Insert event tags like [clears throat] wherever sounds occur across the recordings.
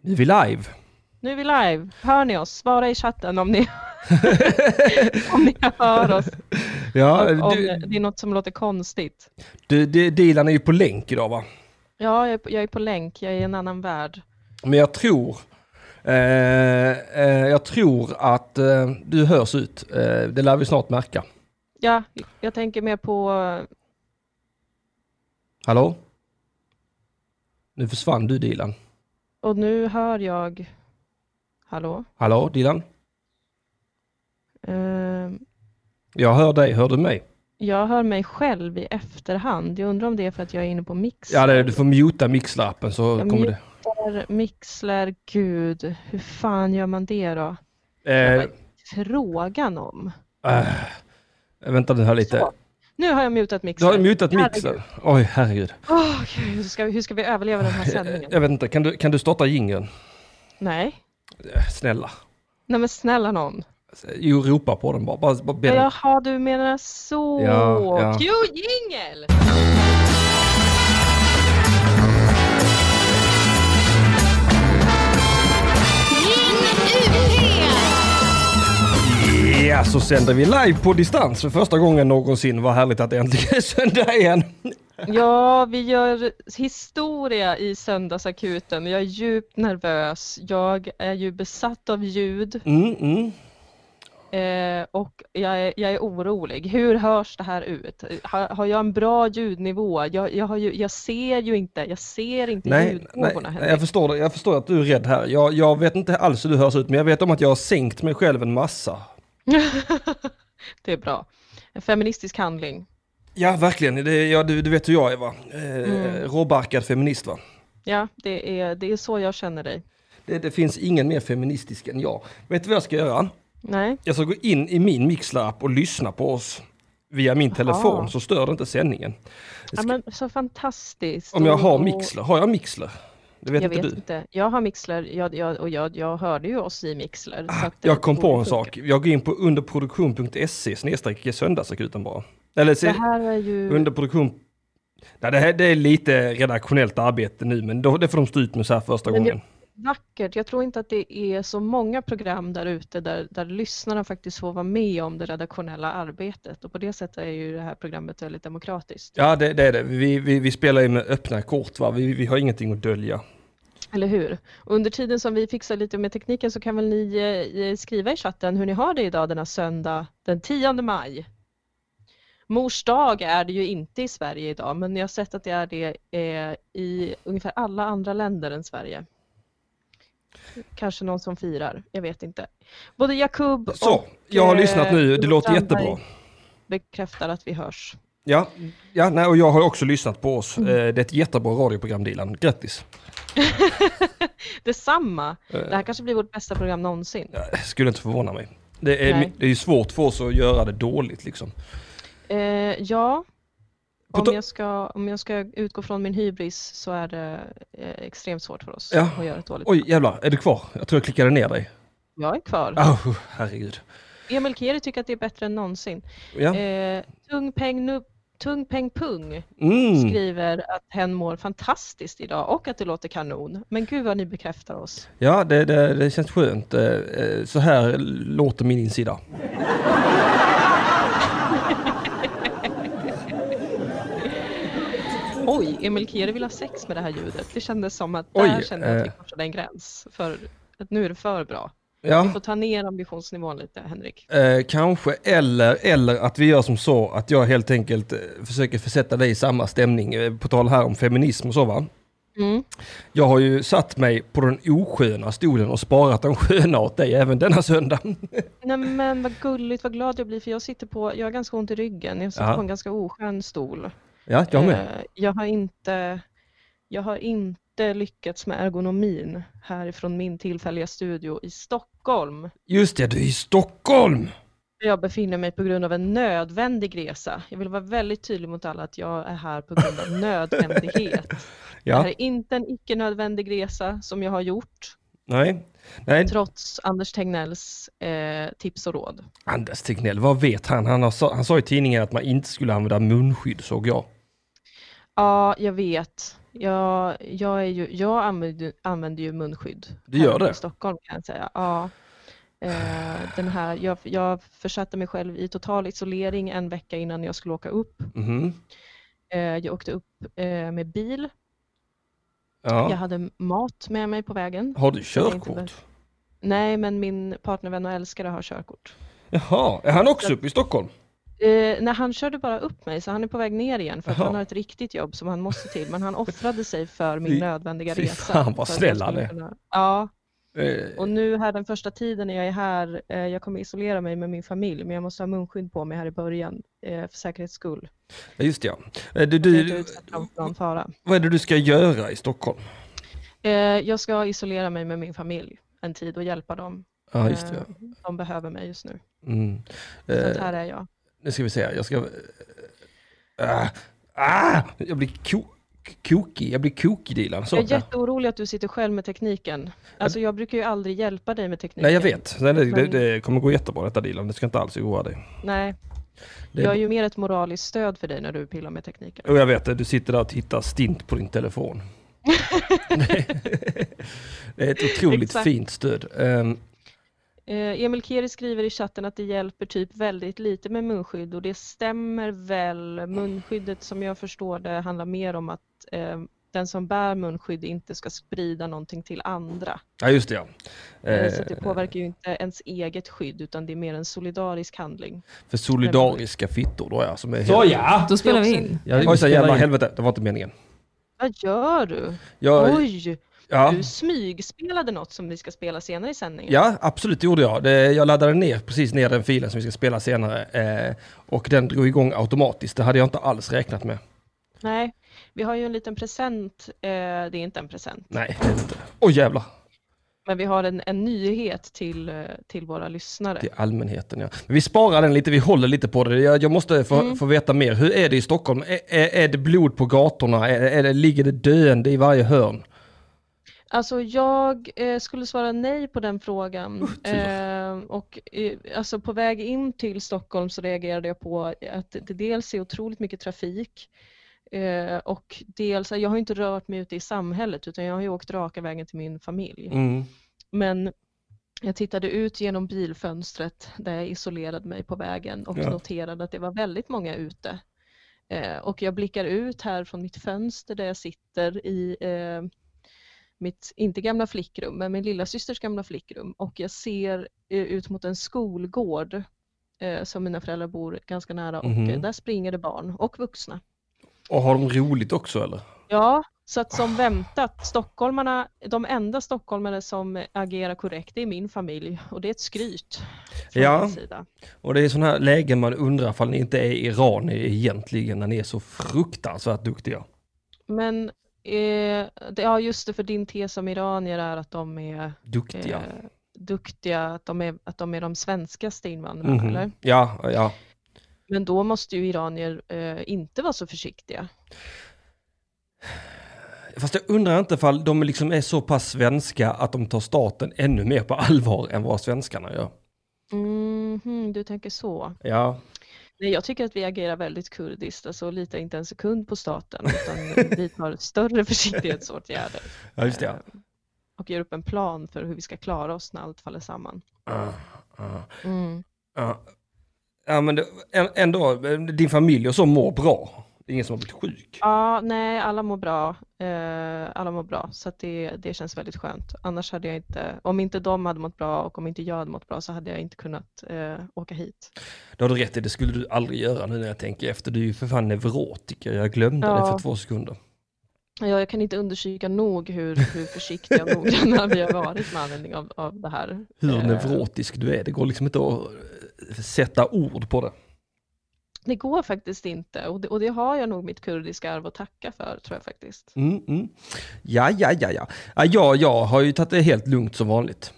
Nu är vi live. Nu är vi live. Hör ni oss? Svara i chatten [laughs] om ni, om ni hör oss. Ja, Om du, det är något som låter konstigt. du, du, Dilan är ju på länk idag va? Ja, jag är, på- jag är på länk. Jag är i en annan värld. Men jag tror, eh, eh, jag tror att eh, du hörs ut. Eh, det lär vi snart märka. Ja, jag tänker mer på... Hallå? Nu försvann du Dilan. Och nu hör jag... Hallå? Hallå Dilan? Ehm, Jag hör dig, hör du mig? jag hör mig själv i efterhand. Jag undrar om det är för att jag är inne på Mixer. Ja, det, du får muta mixlappen så Jag kommer det. Mixer, Mixler, gud. Hur fan gör man det då? Eh, Frågan om. eh, vänta nu här lite. Så. Nu har jag mutat Du Mixer. har mutat mixen. Oj, herregud. Åh, gud, hur, ska vi, hur ska vi överleva den här Eh, [laughs] sändningen? Jag vet inte, kan du, kan du starta jingeln? Nej. Eh, Snälla. Nej men snälla någon. Jo, ropa på den bara. bara, bara be den. Jaha, du menar så. Ja, ja. Jo, jingel! Ja, så sänder vi live på distans för första gången någonsin. Vad härligt att det äntligen är söndag igen. Ja, vi gör historia i Söndagsakuten. Jag är djupt nervös. Jag är ju besatt av ljud Mm, mm. eh, och jag är, jag är orolig. Hur hörs det här ut? Har, har jag en bra ljudnivå? Jag, jag, har ju, jag ser ju inte. Jag ser inte Nej, nej, ljudnivåerna. jag förstår, det. jag förstår att du är rädd här. Jag, jag vet inte alls hur du hörs ut, men jag vet om att jag har sänkt mig själv en massa. det är bra. En feministisk handling. Ja, verkligen. Det, ja, du, du vet hur jag är va? Eh, Mm. Råbarkad feminist va? Ja, det är, det är så jag känner dig. Det, det finns ingen mer feministisk än jag. Vet du vad jag ska göra? Nej, Jag ska gå in i min mixlapp och lyssna på oss via min telefon så stör det inte sändningen. ja, men så fantastiskt. Om jag Och- har och- mixler, har jag mixler? Det vet Jag inte vet du. inte. Jag har Mixler jag, jag, och jag, jag hörde ju oss i Mixler. så att det Ah, Jag kom på borde en funka. sak. Jag går in på underproduktion.se snedstreck söndagsakuten bara. Eller Det se, här är ju... underproduktion... Nej, det, här, det är lite redaktionellt arbete nu, men då, det får de stå ut med så här första Men det- gången. Vackert. Jag tror inte att det är så många program där ute där, där lyssnarna faktiskt får vara med om det redaktionella arbetet och på det sättet är ju det här programmet väldigt demokratiskt. Ja, det, det är det. Vi, vi, vi spelar ju med öppna kort, va? Vi, vi har ingenting att dölja. Eller hur? Och under tiden som vi fixar lite med tekniken så kan väl ni eh, eh, skriva i chatten hur ni har det idag denna söndag den 10 maj. Mors dag är det ju inte i Sverige idag men jag har sett att det är det eh, i ungefär alla andra länder än Sverige. Kanske någon som firar, jag vet inte. Både Jakub Så, och jag har eh, lyssnat nu. Det Olof låter Strandberg jättebra. bekräftar att vi hörs. Ja, ja nej, och jag har också lyssnat på oss. Mm. Eh, Det är ett jättebra radioprogram, Dilan. Grattis! Detsamma! Eh. Det här kanske blir vårt bästa program någonsin. Jag skulle inte förvåna mig. Det är, Nej. det är ju svårt för oss att göra det dåligt liksom. Eh, ja, På om ta- jag, ska, om jag ska utgå från min hybris så är det eh, extremt svårt för oss Ja. att göra ett dåligt. Oj, jävlar. Är du kvar? Jag tror jag klickade ner dig. Jag är kvar. Oh, herregud. Emil Keri tycker att det är bättre än någonsin. Ja. Eh, tung, peng, nu, tung Peng Pung Mm. skriver att hen mår fantastiskt idag och att det låter kanon. Men gud vad ni bekräftar oss. Ja, det, det, det känns skönt. Eh, eh, Så här låter min insida. Oj, Emil Keri vill ha sex med det här ljudet. Det kändes som att Oj, där kände jag att vi eh. korsade en gräns. För att nu är det för bra. Ja, Får ta ner ambitionsnivån lite, Henrik. eh, kanske. Eller, eller att vi gör som så att jag helt enkelt eh, försöker försätta dig i samma stämning. Eh, På tal här om feminism och så va. Mm. Jag har ju satt mig på den osköna stolen och sparat den sköna åt dig även denna söndag. Nej men vad gulligt, vad glad jag blir för jag sitter på, jag har ganska ont i ryggen, jag sitter Ja. på en ganska oskön stol. Ja, jag med. Eh, Jag har inte, jag har inte lyckats med ergonomin härifrån min tillfälliga studio i Stockholm. Just det, du är i Stockholm! där Jag befinner mig på grund av en nödvändig resa. Jag vill vara väldigt tydlig mot alla att jag är här på grund [laughs] av nödvändighet. Det här Ja, är inte en icke nödvändig resa som jag har gjort nej. Nej, trots Anders Tegnells eh, tips och råd. Anders Tegnell, vad vet han? Han, har, sa- han sa i tidningen att man inte skulle använda munskydd, såg jag. Ja, jag vet. Jag, jag, är ju, jag använder, använder ju munskydd. Du gör här det? I Stockholm kan jag säga. Ja. Eh, Den här, jag, jag försatte mig själv i total isolering en vecka innan jag skulle åka upp. Mhm. Eh, Jag åkte upp eh, med bil. Jag Ja. hade mat med mig på vägen. Har du tänkte väl- körkort? Nej, men min partnervän och älskare har körkort. Jaha, är han också uppe i Stockholm? Eh, nej, han körde bara upp mig så han är på väg ner igen för att Jaha. han har ett riktigt jobb som han måste till. [laughs] Men han offrade sig för min Fy- nödvändiga fy resa. fan, vad för att jag snäll skulle han är. kunna- Ja, Eh, och nu här den första tiden när jag är här, eh, jag kommer isolera mig med min familj men jag måste ha munskydd på mig här i början eh, för säkerhets skull. Ja, just det, ja. Eh, Du, Du... Jag du, utsätter dem för någon fara. vad är det du ska göra i Stockholm? Eh, jag ska isolera mig med min familj en tid och hjälpa dem. Ja, just det. Eh, ja. De behöver mig just nu. Mm. Så att Eh, här är jag. nu ska vi se, här. jag ska... eh, Ah, ah, jag blir ko kokig, jag blir kokig Dilan. Så. Jag är jätteorolig att du sitter själv med tekniken. Alltså jag brukar ju aldrig hjälpa dig med tekniken. Nej jag vet, Nej, det, Mm. det, det kommer gå jättebra detta Dilan, du ska inte alls oroa dig. Nej, Det, jag är ju mer ett moraliskt stöd för dig när du pillar med tekniken. Och jag vet att du sitter där och tittar stint på din [laughs] telefon. [laughs] det är ett otroligt Exakt. fint stöd. Ehm, Eh, Emil Keri skriver i chatten att det hjälper typ väldigt lite med munskydd och det stämmer väl. Munskyddet som jag förstår det handlar mer om att eh, den som bär munskydd inte ska sprida någonting till andra. ja just det ja. Eh, Eh, Så att det påverkar ju inte ens eget skydd utan det är mer en solidarisk handling. för solidariska fittor då ja. Som är helt... Såja! Då spelar Det vi är också in. Ja, vi Oj, så spelar jävla in. helvete, det var inte meningen. Vad gör du? Jag, Oj, ja, du smygspelade något som vi ska spela senare i sändningen. ja, absolut det gjorde jag. Det, jag laddade ner precis ner den filen som vi ska spela senare. Eh, och den drog igång automatiskt, det hade jag inte alls räknat med. Nej, vi har ju en liten present. Eh, det är inte en present, Nej, det är det inte. Oj jävlar. men vi har en, en nyhet till, eh, till våra lyssnare. Till allmänheten ja. Men vi sparar den lite, vi håller lite på det. Jag, jag måste få, Mm. få veta mer. Hur är det i Stockholm? Är, är, är det blod på gatorna? Är, är det, ligger det döende i varje hörn? Alltså jag eh, skulle svara nej på den frågan. tur. Eh, och eh, alltså på väg in till Stockholm så reagerade jag på att det dels är otroligt mycket trafik eh, och dels, jag har ju inte rört mig ute i samhället utan jag har ju åkt raka vägen till min familj. Mm. Men jag tittade ut genom bilfönstret där jag isolerade mig på vägen och Ja. noterade att det var väldigt många ute. Eh, och jag blickar ut här från mitt fönster där jag sitter i eh, mitt, inte gamla flickrum, men min lilla systers gamla flickrum och jag ser eh, ut mot en skolgård eh, som mina föräldrar bor ganska nära och Mhm. eh, där springer det barn och vuxna. Och har de roligt också eller? Ja, så att som väntat, stockholmarna, de enda stockholmare som agerar korrekt, det är min familj och det är ett skryt från Ja. min sida. Och det är sådana här lägen man undrar ifall ni inte är iranier egentligen när ni är så fruktansvärt duktiga. Men eh, det, ja, just det, för din tes om iranier är att de är eh, Duktiga. duktiga, att de är, att de är de svenskaste invandrarna, Mhm. eller? Ja, ja. Men då måste ju iranier eh, inte vara så försiktiga. Fast jag undrar inte ifall de liksom är så pass svenska att de tar staten ännu mer på allvar än vad svenskarna gör. Mhm, du tänker så. Ja, Nej, jag tycker att vi agerar väldigt kurdiskt, alltså litar inte en sekund på staten utan vi tar större [laughs] försiktighetsåtgärder. ja just det. ja. Eh, Och gör upp en plan för hur vi ska klara oss när allt faller samman. Ah, ah. Ja. ja, men det, ä- ändå, din familj och så mår bra. Det är ingen som har blivit sjuk. Ja, nej, alla mår bra. Eh, Alla mår bra, så att det, det känns väldigt skönt. Annars hade jag inte, om inte de hade mått bra och om inte jag hade mått bra så hade jag inte kunnat eh, åka hit. Det har du rätt i, det skulle du aldrig göra nu när jag tänker efter. Du är ju för fan neurotiker, jag glömde Ja. det för två sekunder. Ja, jag kan inte undersöka nog hur, hur försiktiga och [laughs] noggranna vi har varit med användning av, av det här. Hur Eh, neurotisk du är, det går liksom inte att eh, sätta ord på det. Det går faktiskt inte och det, och det har jag nog mitt kurdiska arv att tacka för tror jag faktiskt. Mm, mm. Ja, ja, ja, ja. Ja, jag, jag har ju tagit det helt lugnt som vanligt.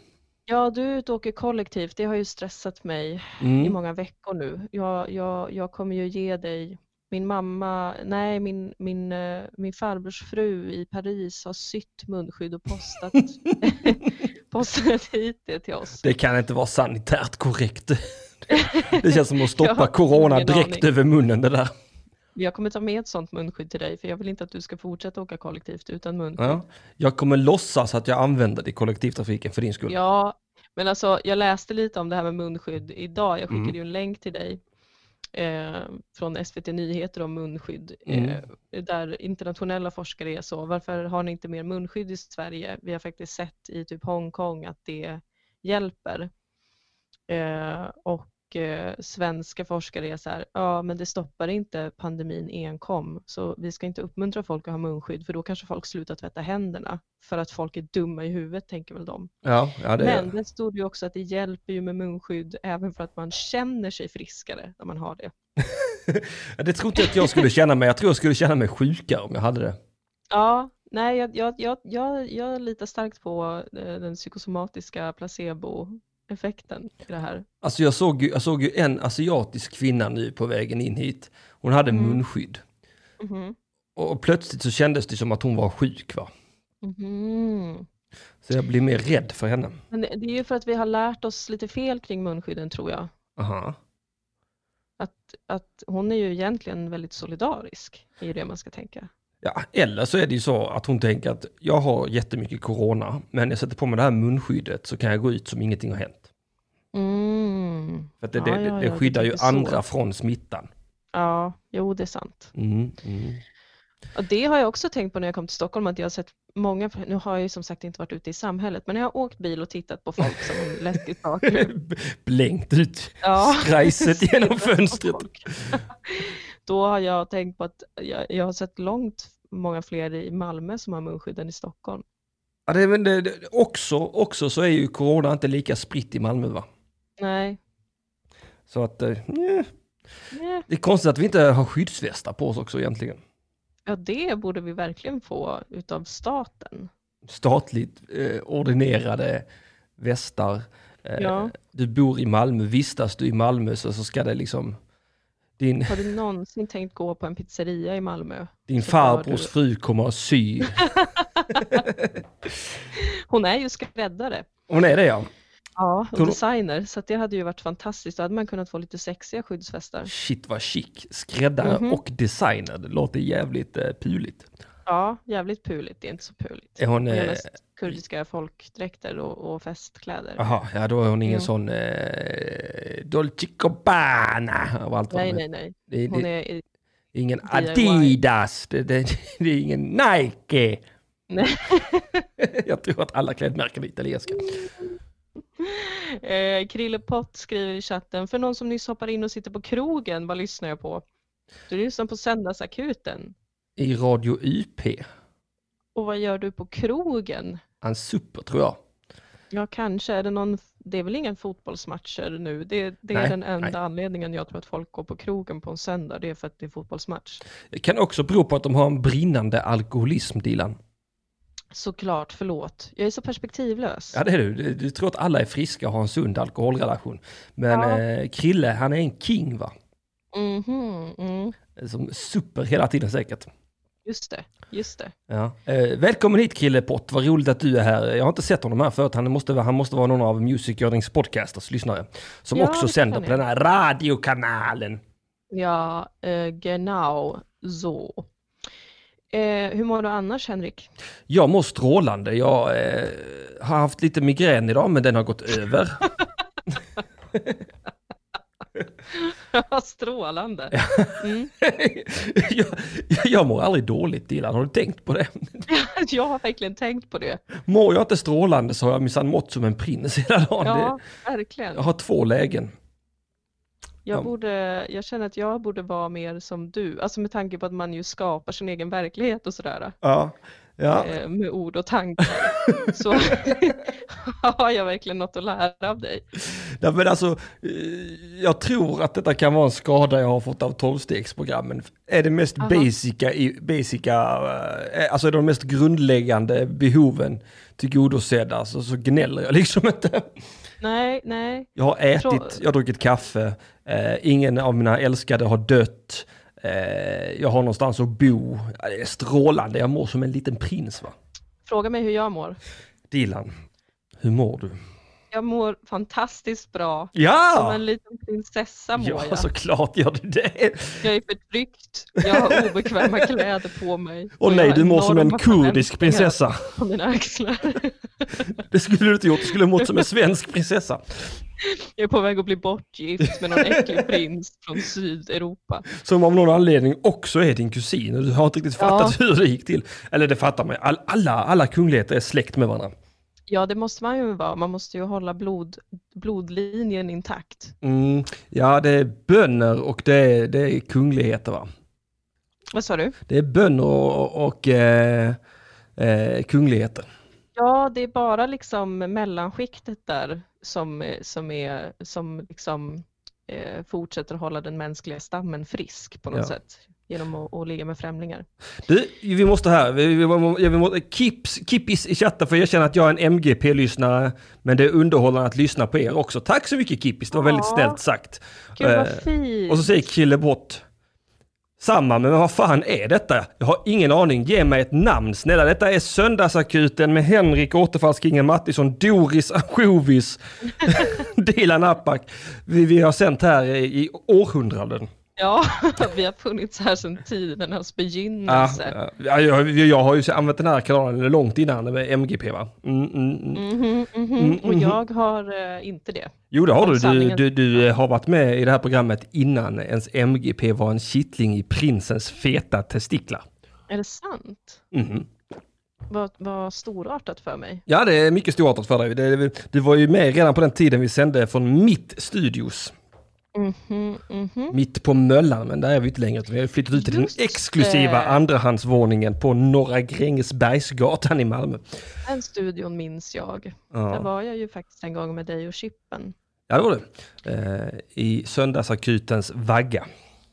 Ja, du är ute och åker kollektivt, det har ju stressat mig. i Mm. många veckor nu. Jag, jag, jag kommer ju ge dig min mamma, nej min, min, eh, min farbrors fru i Paris har sytt munskydd och postat, [laughs] postat hit det till oss. Det kan inte vara [laughs] sanitärt korrekt. Det känns som att stoppa Jag har corona ingen direkt aning. över munnen det där. Jag kommer ta med ett sånt munskydd till dig för jag vill inte att du ska fortsätta åka kollektivt utan munskydd. Ja. Jag kommer låtsas att jag använder det i kollektivtrafiken för din skull. Ja, men alltså jag läste lite om det här med munskydd idag. Jag skickade Mm. ju en länk till dig eh, från SVT Nyheter om munskydd Mm. eh, där internationella forskare är så. Varför har ni inte mer munskydd i Sverige? Vi har faktiskt sett i typ Hongkong att det hjälper. Eh, och eh, svenska forskare är så här, ja men det stoppar inte pandemin enkom så vi ska inte uppmuntra folk att ha munskydd för då kanske folk slutar tvätta händerna för att folk är dumma i huvudet tänker väl de. Ja, ja det Men det stod ju också att det hjälper ju med munskydd även för att man känner sig friskare när man har det. Ja, Det tror inte jag att jag skulle känna mig. Jag tror jag skulle känna mig sjukare om jag hade det. Ja, nej, jag, jag, jag, jag, jag litar starkt på eh, den psykosomatiska placeboeffekten i det här. Alltså jag såg ju, jag såg ju en asiatisk kvinna nu på vägen in hit. Hon hade Mm. munskydd. Mhm. Och, och plötsligt så kändes det som att hon var sjuk va. Mhm. Så jag blev mer rädd för henne. Men det det är ju för att vi har lärt oss lite fel kring munskydden tror jag. Aha. Att, att hon är ju egentligen väldigt solidarisk, är ju det man ska tänka. Ja, eller så är det ju så att hon tänker att jag har jättemycket corona, men jag sätter på mig det här munskyddet så kan jag gå ut som ingenting har hänt. Mm. För att det, Ja, det, ja, det, ja, det du skyddar ju tänker så. andra från smittan. Ja, jo det är sant. Mm, mm. [laughs] Och det har jag också tänkt på när jag kom till Stockholm att jag har sett många, nu har jag ju som sagt inte varit ute i samhället, men jag har åkt bil och tittat på folk som har [laughs] läskigt bakgrund. Blänkt ut Ja. skrajset [laughs] genom fönstret. Folk. [laughs] Då har jag tänkt på att jag, jag har sett långt många fler i Malmö som har munskydd än i Stockholm. Ja, det, är väl det, det, också, också så är ju corona inte lika spritt i Malmö va? Nej, Så att, eh, nja, Nej. det är konstigt att vi inte har skyddsvästar på oss också egentligen. ja det borde vi verkligen få utav staten. Statligt eh, ordinerade västar. Eh, Ja. Du bor i Malmö, vistas du i Malmö så, så ska det liksom, din, Har du någonsin tänkt gå på en pizzeria i Malmö? din Så dör farbrors du. fru kommer att sy. Hon är ju skräddare. Hon är det ja. Ja, och Tror du- designer, så att det hade ju varit fantastiskt. Då hade man kunnat få lite sexiga skyddsvästar. Shit vad chic, skräddare Mhm. och designer. Det låter jävligt eh, puligt. Ja, jävligt puligt. Det är inte så puligt. Är hon, Hon gör eh, mest kurdiska folkdräkter och, och festkläder. Jaha, ja då är hon ingen Mm. sån eh, Dolce Gabbana och allt vad nej, de är. nej, nej. Det, det, Hon är är... i- [laughs] ingen DIY. Adidas, det, det, det är ingen Nike. Nej. [laughs] Jag tror att alla klädmärken är italienska. Eh, Krille Pott skriver i chatten, för någon som nyss hoppar in och sitter på krogen, vad lyssnar jag på? Du lyssnar på Söndagsakuten. I Radio UP, Och vad gör du på krogen? en super tror jag. Ja, kanske. Är det, någon, det är väl ingen fotbollsmatcher nu? Det, det är Nej, den enda nej. anledningen jag tror att folk går på krogen på en söndag. Det är för att det är fotbollsmatch. Det kan också bero på att de har en brinnande alkoholism, Dilan. Såklart, förlåt. Jag är så perspektivlös. Ja, det är du. Du- Du tror att alla är friska och har en sund alkoholrelation. Men Ja. eh, Krille, han är en king va? Mhm, mm. Som super hela tiden säkert. Just det, just det. Ja. Eh, välkommen hit Krille Pott, vad roligt att du är här. Jag har inte sett honom här förut, han måste, vara- han måste vara någon av Music Yearnings podcasters lyssnare. Som Ja, också det sänder kan på det. den här radiokanalen. Ja, eh, genau so. Eh, hur mår du annars Henrik? Jag mår strålande, jag eh, har haft lite migrän idag men den har gått över. [laughs] Strålande. Mm. jag, jag mår aldrig dåligt Dilan, har du tänkt på det? [laughs] Jag har verkligen tänkt på det. Mår jag inte strålande så har jag minsann mått som en prins hela dagen. Ja, Det, verkligen. jag har två lägen. ja. Jag, borde, jag känner att jag borde vara mer som du, alltså med tanke på att man ju skapar sin egen verklighet och sådär Ja. Ja. eh, med ord [laughs] och tankar. Så [laughs] har jag verkligen något att lära av dig. Nej, men alltså, eh, jag tror att detta kan vara en skada jag har fått av tolvstegsprogrammen. Är det mest Aha. basica, i- basica, eh, alltså är de mest grundläggande behoven tillgodosedda så, så gnäller jag [laughs] liksom inte. Nej, nej. Jag har ätit, Tror- jag har druckit kaffe, eh, ingen av mina älskade har dött, eh, jag har någonstans att bo. Ja, Det är strålande, jag mår som en liten prins va. Fråga mig hur jag mår. Dilan, hur mår du? Jag mår fantastiskt bra. Som Ja! en liten prinsessa mår Ja, alltså. jag. såklart gör du det. Jag är förtryckt, jag [laughs] har obekväma kläder på mig. Och jag nej, har du mår som en enorma kurdisk förväntningar prinsessa. [laughs] På mina axlar. Det skulle du inte gjort, du skulle mått som en svensk prinsessa. Jag är på väg att bli bortgift med [laughs] någon äcklig prins från Sydeuropa. Som av någon anledning också är din kusin och du har inte riktigt Ja. fattat hur det gick till. Eller det fattar man ju. All, alla, alla kungligheter är släkt med varandra. Ja, det måste man ju vara. Man måste ju hålla blod, blodlinjen intakt. Mm, ja, det är bönder och det är, det är kungligheter va? Vad sa du? Det är bönder och, och eh, eh, kungligheter. Ja, det är bara liksom mellanskiktet där som, eh, som, är, som liksom, eh, fortsätter hålla den mänskliga stammen frisk på något Ja. sätt genom att, att ligga med främlingar. Du, vi måste här, vi, vi, vi, vi måste, kips, Kippis i chatten får erkänna att jag är en MGP-lyssnare, men det är underhållande att lyssna på er också. Tack så mycket Kippis, det var väldigt Ja. snällt sagt. Gud vad Eh, fint! Och så säger Kille Brott. Samma, men vad fan är detta? Jag har ingen aning. Ge mig ett namn snälla. Detta är Söndagsakuten med Henrik Återfallskingen Mattisson, Doris [laughs] Ansjovis, Dilan Apak. Vi, vi har sänt här i, i århundraden. Ja, [laughs] vi har funnits här sedan tidernas begynnelse. Ah, Ja, ja, jag, jag har ju använt den här kanalen långt innan med MGP va? Mm, mm, mm. Mhm, mhm. Mm, Och mhm. jag har eh, inte det. Jo det har du. Du, Sanningen. du. du har varit med i det här programmet innan ens MGP var en kittling i prinsens feta testiklar. Är det sant? Mhm. Vad, vad storartat för mig. Ja, det är mycket storartat för dig. Det- det- Du var ju med redan på den tiden vi sände från mitt studios. Mhm, mhm. Mitt på Möllan, men där är vi inte längre. utan Vi har flyttat ut till Just den exklusiva det. andrahandsvåningen på Norra Grängesbergsgatan i Malmö. Den studion minns jag. Där Ja, var jag ju faktiskt en gång med dig och Chippen. ja det var det. Eh, I söndagsakutens vagga.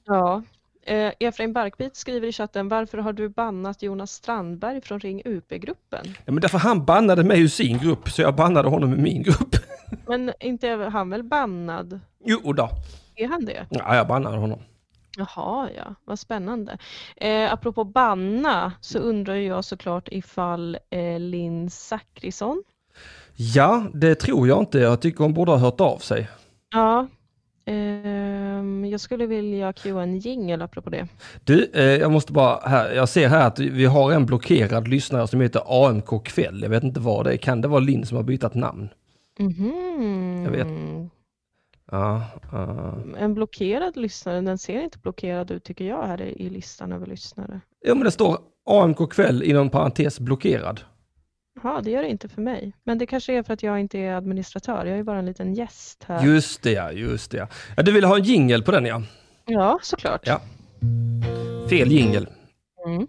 Ja. Eh, Efraim Barkbit skriver i chatten, varför har du bannat Jonas Strandberg från Ring UP-gruppen? Ja, men därför han bannade mig ur sin grupp, så jag bannade honom ur min grupp. [laughs] Men inte är han väl bannad? Jo då. Är han det? Ja, jag bannade honom. Jaha, ja, vad spännande. Eh, apropå banna så undrar ju jag såklart ifall eh, Linn Zachrisson, Ja, det tror jag inte. Jag tycker hon borde ha hört av sig. ja, ehm, jag skulle vilja cuea en jingle apropå det. Du, eh, jag måste bara här, jag ser här att vi har en blockerad lyssnare som heter AMK kväll. Jag vet inte vad det är. Kan det vara Linn som har bytt namn? Mhm. Jag vet. Ja, ja. En blockerad lyssnare, den ser inte blockerad ut tycker jag här i i listan över lyssnare. ja men det står AMK kväll inom parentes blockerad. Ja, det gör det inte för mig. Men det kanske är för att jag inte är administratör, jag är bara en liten gäst här. Just det ja, just det ja. ja du vill ha en jingel på den ja. Ja, såklart. Ja. Fel jingel. Mm. Linn,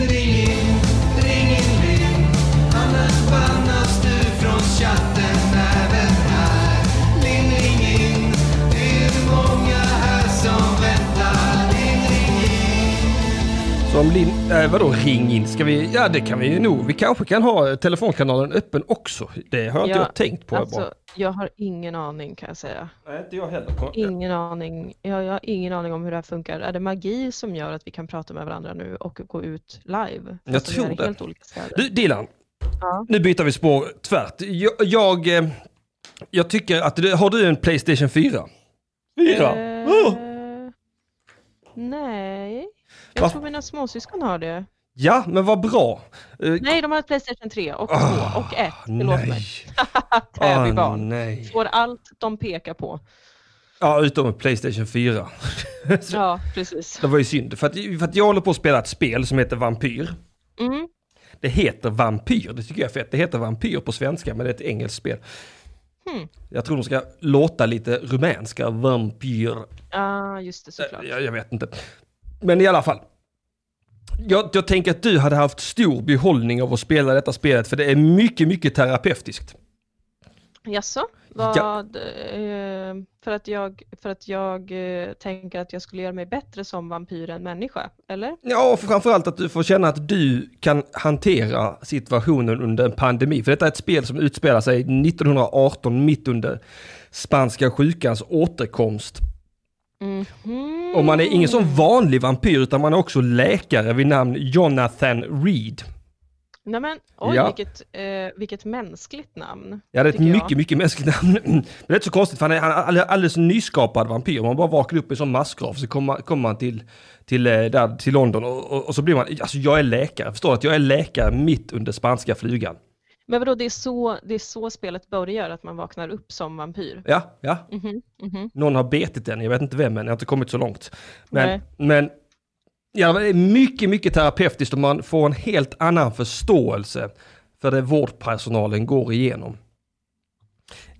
ring in, ring in Linn. Annars bannas du från chatten även här. Linn, ring in. Det är många här som väntar. Linn, ring in. Så om Linn, eh, vadå ring in? Ska vi, ja det kan vi ju nog. Vi kanske kan ha eh, telefonkanalen öppen också. Det har inte Ja, jag tänkt på. Alltså, bara. jag har ingen aning kan jag säga. Nej, inte jag heller. Ingen aning. Jag, jag har ingen aning om hur det här funkar. Är det magi som gör att vi kan prata med varandra nu och gå ut live? Jag Fast vi tror är i det. Helt olika städer. Du Dilan, Ja. nu byter vi spår tvärt. Jag, jag, eh, jag tycker att, du- har du en Playstation 4? Eh, Oh! Nej, jag Va? tror mina småsyskon har det. Ja, men vad bra. Eh, Nej, de har ett Playstation 3 och 2 Ah, och 1. Mm. Förlåt nej. Ah, mig. Täbybarn. nej. Får allt de pekar på. Ja, utom Playstation 4. Ja, precis. Det var ju synd, för att, för att jag håller på att spela ett spel som heter Vampyr. Mm. Det heter Vampyr, det tycker jag är fett. Det heter Vampyr på svenska, men det är ett engelskt spel. Hmm. Jag tror de ska låta lite rumänska, Vampyr. Ah, just det, såklart. Jag, jag vet inte. Men i alla fall. Jag, jag tänker att du hade haft stor behållning av att spela detta spelet, för det är mycket, mycket terapeutiskt. Jaså? Vad, eh, för att jag, för att jag eh, tänker att jag skulle göra mig bättre som vampyr än människa, eller? Ja, och framförallt att du får känna att du kan hantera situationen under en pandemi. För detta är ett spel som utspelar sig 1918, mitt under spanska sjukans återkomst. Mhm. Och man är ingen sån vanlig vampyr, utan man är också läkare vid namn Jonathan Reed. Nej men, oj Ja. vilket, eh, vilket mänskligt namn. Ja, det är ett tycker jag. mycket, mycket mänskligt namn. [clears throat] Men det är inte så konstigt, för han är han är all- alldeles nyskapad vampyr. Man bara vaknar upp i en sån massgrav, så kommer man, kommer man till, till, eh, där, till London och, och, och så blir man... Alltså, jag är läkare. Förstår du att jag är läkare mitt under spanska flygan? Men vadå, det är, så, det är så spelet börjar, att man vaknar upp som vampyr? Ja, ja. Mhm, mhm. Någon har betit den, jag vet inte vem, men jag har inte kommit så långt. Men, Nej. men ja, det är mycket, mycket terapeutiskt och man får en helt annan förståelse för det vårdpersonalen går igenom.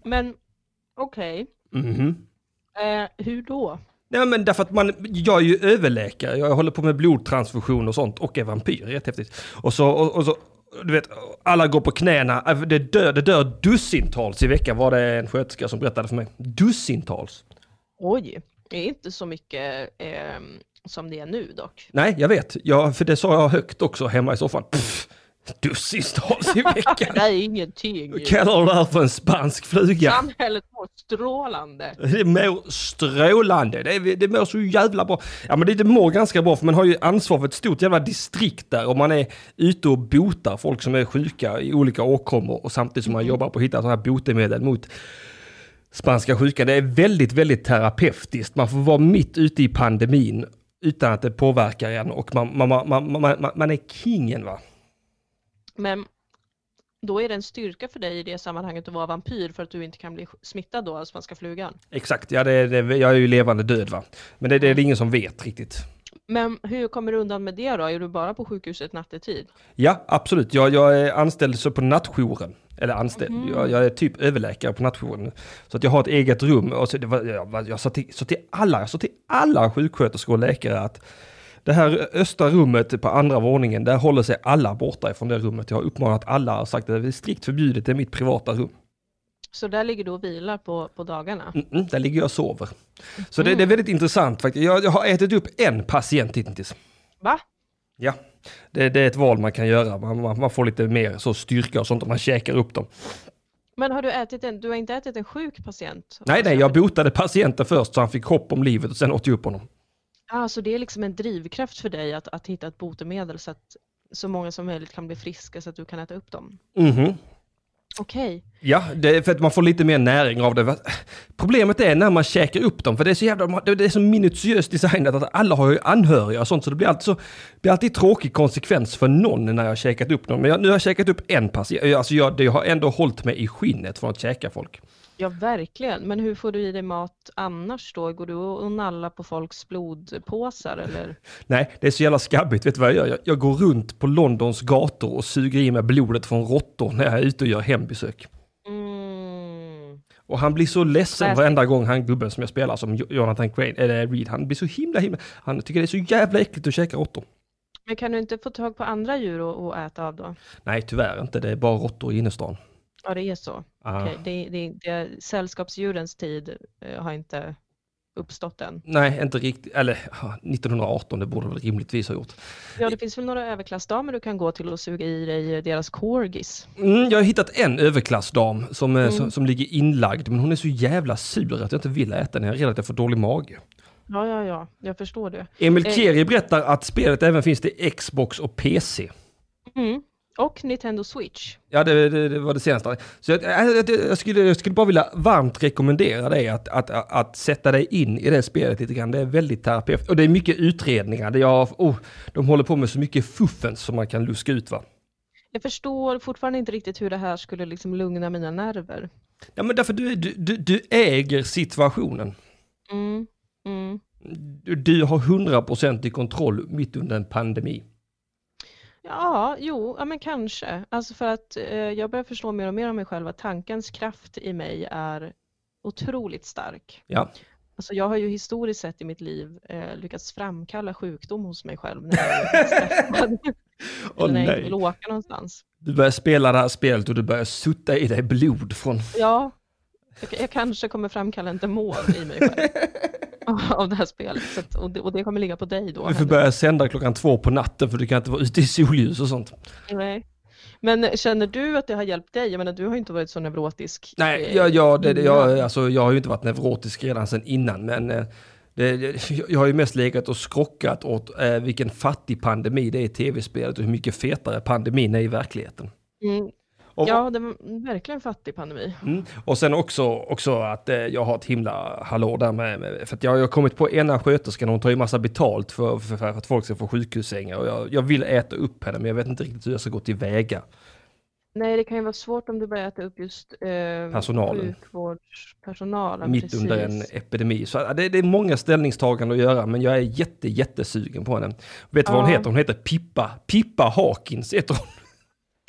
Men okej, Mhm. eh, hur då? Nej men därför att man, jag är ju överläkare, jag håller på med blodtransfusion och sånt och är vampyr, jättehäftigt. Och så, och, och så du vet, alla går på knäna, det dör, det dör dussintals i veckan var det en sköterska som berättade för mig. Dussintals? Oj, det är inte så mycket eh, som det är nu dock. Nej, jag vet, jag, för det sa jag högt också hemma i soffan. Pff, dussintals i Det veckan! [laughs] där är ingenting. ju. Kallar du det här för en spansk fluga? Samhället mår strålande. Det mår strålande. Det, är- det mår så jävla bra. Ja men det, det mår ganska bra för man har ju ansvar för ett stort jävla distrikt där och man är ute och botar folk som är sjuka i olika åkommor och samtidigt som man jobbar på att hitta sådana här botemedel mot spanska sjukan. Det är väldigt, väldigt terapeutiskt. Man får vara mitt ute i pandemin utan att det påverkar en och man, man, man, man, man, man, man är kingen va. Men då är det en styrka för dig i det sammanhanget att vara vampyr för att du inte kan bli smittad då av spanska flugan. Exakt, ja, det, det, jag är ju levande död va. Men det, det är det ingen som vet riktigt. Men hur kommer du undan med det då? Är du bara på sjukhuset nattetid? Ja, absolut. Jag, jag är anställd så på nattjouren. Eller anställd, jag, jag är typ överläkare på nattjouren. Så att jag har ett eget rum. Och så, det var, jag, var- jag sa till, sa till alla, jag sa till alla sjuksköterskor och läkare att det här östra rummet på andra våningen, där håller sig alla borta ifrån det rummet. Jag har uppmanat alla och sagt att det är strikt förbjudet, det är mitt privata rum. Så där ligger du och vilar på, på dagarna? Mm-mm, där ligger jag och sover. Så det, det är väldigt intressant faktiskt. Jag, jag har ätit upp en patient hittills. Va? Ja, det, det är ett val man kan göra. Man, man, man får lite mer så styrka och sånt om man käkar upp dem. Men har du ätit en, du har inte ätit en sjuk patient? Nej, nej, jag botade patienten först så han fick hopp om livet och sen åt jag upp honom. Ah, så det är liksom en drivkraft för dig att, att hitta ett botemedel så att så många som möjligt kan bli friska så att du kan äta upp dem? Mhm. Okej. Ja, det är för att man får lite mer näring av det. Va- Problemet är när man käkar upp dem, för det är så jävla, man- det är så minutiöst designat att alla har ju anhöriga och sånt, så det blir alltid, så, det blir alltid tråkig konsekvens för någon när jag har käkat upp dem. Men jag, nu har jag käkat upp en patient, alltså jag, jag har ändå hållit mig i skinnet från att käka folk. Ja, verkligen. Men hur får du i dig mat annars då? Går du och nallar på folks blodpåsar eller? Nej, det är så jävla skabbigt. Vet du vad jag gör? Jag, jag går runt på Londons gator och suger i mig blodet från råttor när jag är ute och gör hembesök. Mm. Och han blir så ledsen Classic. varenda gång han gubben som jag spelar som Jo- Jonathan Crane, eller Reed, han blir så himla himla... Han tycker det är så jävla äckligt att käka råttor. Men kan du inte få tag på andra djur och, och äta av då? Nej, tyvärr inte. Det är bara råttor i innerstan. Ja, det är så. Ah. Okej, Det, det, det, sällskapsdjurens tid eh, har inte uppstått än. Nej, inte riktigt. Eller ah, 1918, det borde väl rimligtvis ha gjort. Ja, det finns väl några överklassdamer du kan gå till och suga i dig eh, deras corgis. Mm, jag har hittat en överklassdam som, Mm. eh, som, som ligger inlagd, men hon är så jävla sur att jag inte vill äta den. Jag är rädd att jag får dålig mage. Ja, ja, ja, jag förstår det. Emil Eh. Keri berättar att spelet även finns till Xbox och PC. Mm. Och Nintendo Switch. Ja, det, det, det var det senaste. Så jag, jag, jag- jag, skulle, jag skulle bara vilja varmt rekommendera dig att, att, att, att sätta dig in i det spelet lite grann. Det är väldigt terapeutiskt. Och det är mycket utredningar. Det jag, oh, de håller på med så mycket fuffens som man kan luska ut. Va? Jag förstår fortfarande inte riktigt hur det här skulle liksom lugna mina nerver. Ja, men därför du, är- du, du, du äger situationen. Mm. Mm. Du, du har 100% i kontroll mitt under en pandemi. Ja, jo, ja, men kanske. Alltså för att eh, jag börjar förstå mer och mer om mig själv att tankens kraft i mig är otroligt stark. Ja. Alltså jag har ju historiskt sett i mitt liv eh, lyckats framkalla sjukdom hos mig själv när jag är stressad [laughs] Åh, eller när jag inte nej. vill åka någonstans. Du börjar spela det här spelet och du börjar sutta i dig blod från... Ja, jag, jag kanske kommer framkalla en demon i [laughs] mig själv av- av det här spelet. Så att, och, det, och det kommer ligga på dig då. Du får Henrik. börja sända klockan två på natten för du kan inte vara ute i solljus och sånt. Nej. Men känner du att det har hjälpt dig? Jag menar, du har ju inte varit så neurotisk. Nej, eh, jag, jag, det, det- jag, innan. alltså, jag har ju inte varit neurotisk redan sedan innan, men eh, Det, det- [laughs] jag har ju mest legat och skrockat åt eh, vilken fattig pandemi det är i tv-spelet och hur mycket fetare pandemin är i verkligheten. Mm. Och, Ja, det var verkligen fattig pandemi. Mm. Och sen också, också att eh, jag har ett himla hallå där med, med för att jag har ju kommit på ena sköterskan, hon tar ju massa betalt för, för, för att folk ska få sjukhussängar och jag, jag vill äta upp henne men jag vet inte riktigt hur jag ska gå tillväga. Nej, det kan ju vara svårt om du börjar äta upp just eh, Personalen. sjukvårdspersonalen. mitt precis. under en epidemi. Så ja, det, det är många ställningstaganden att göra men jag är jätte, jättesugen på henne. Vet du vad hon Ja. heter? Hon heter Pippa, Pippa Hawkins heter hon.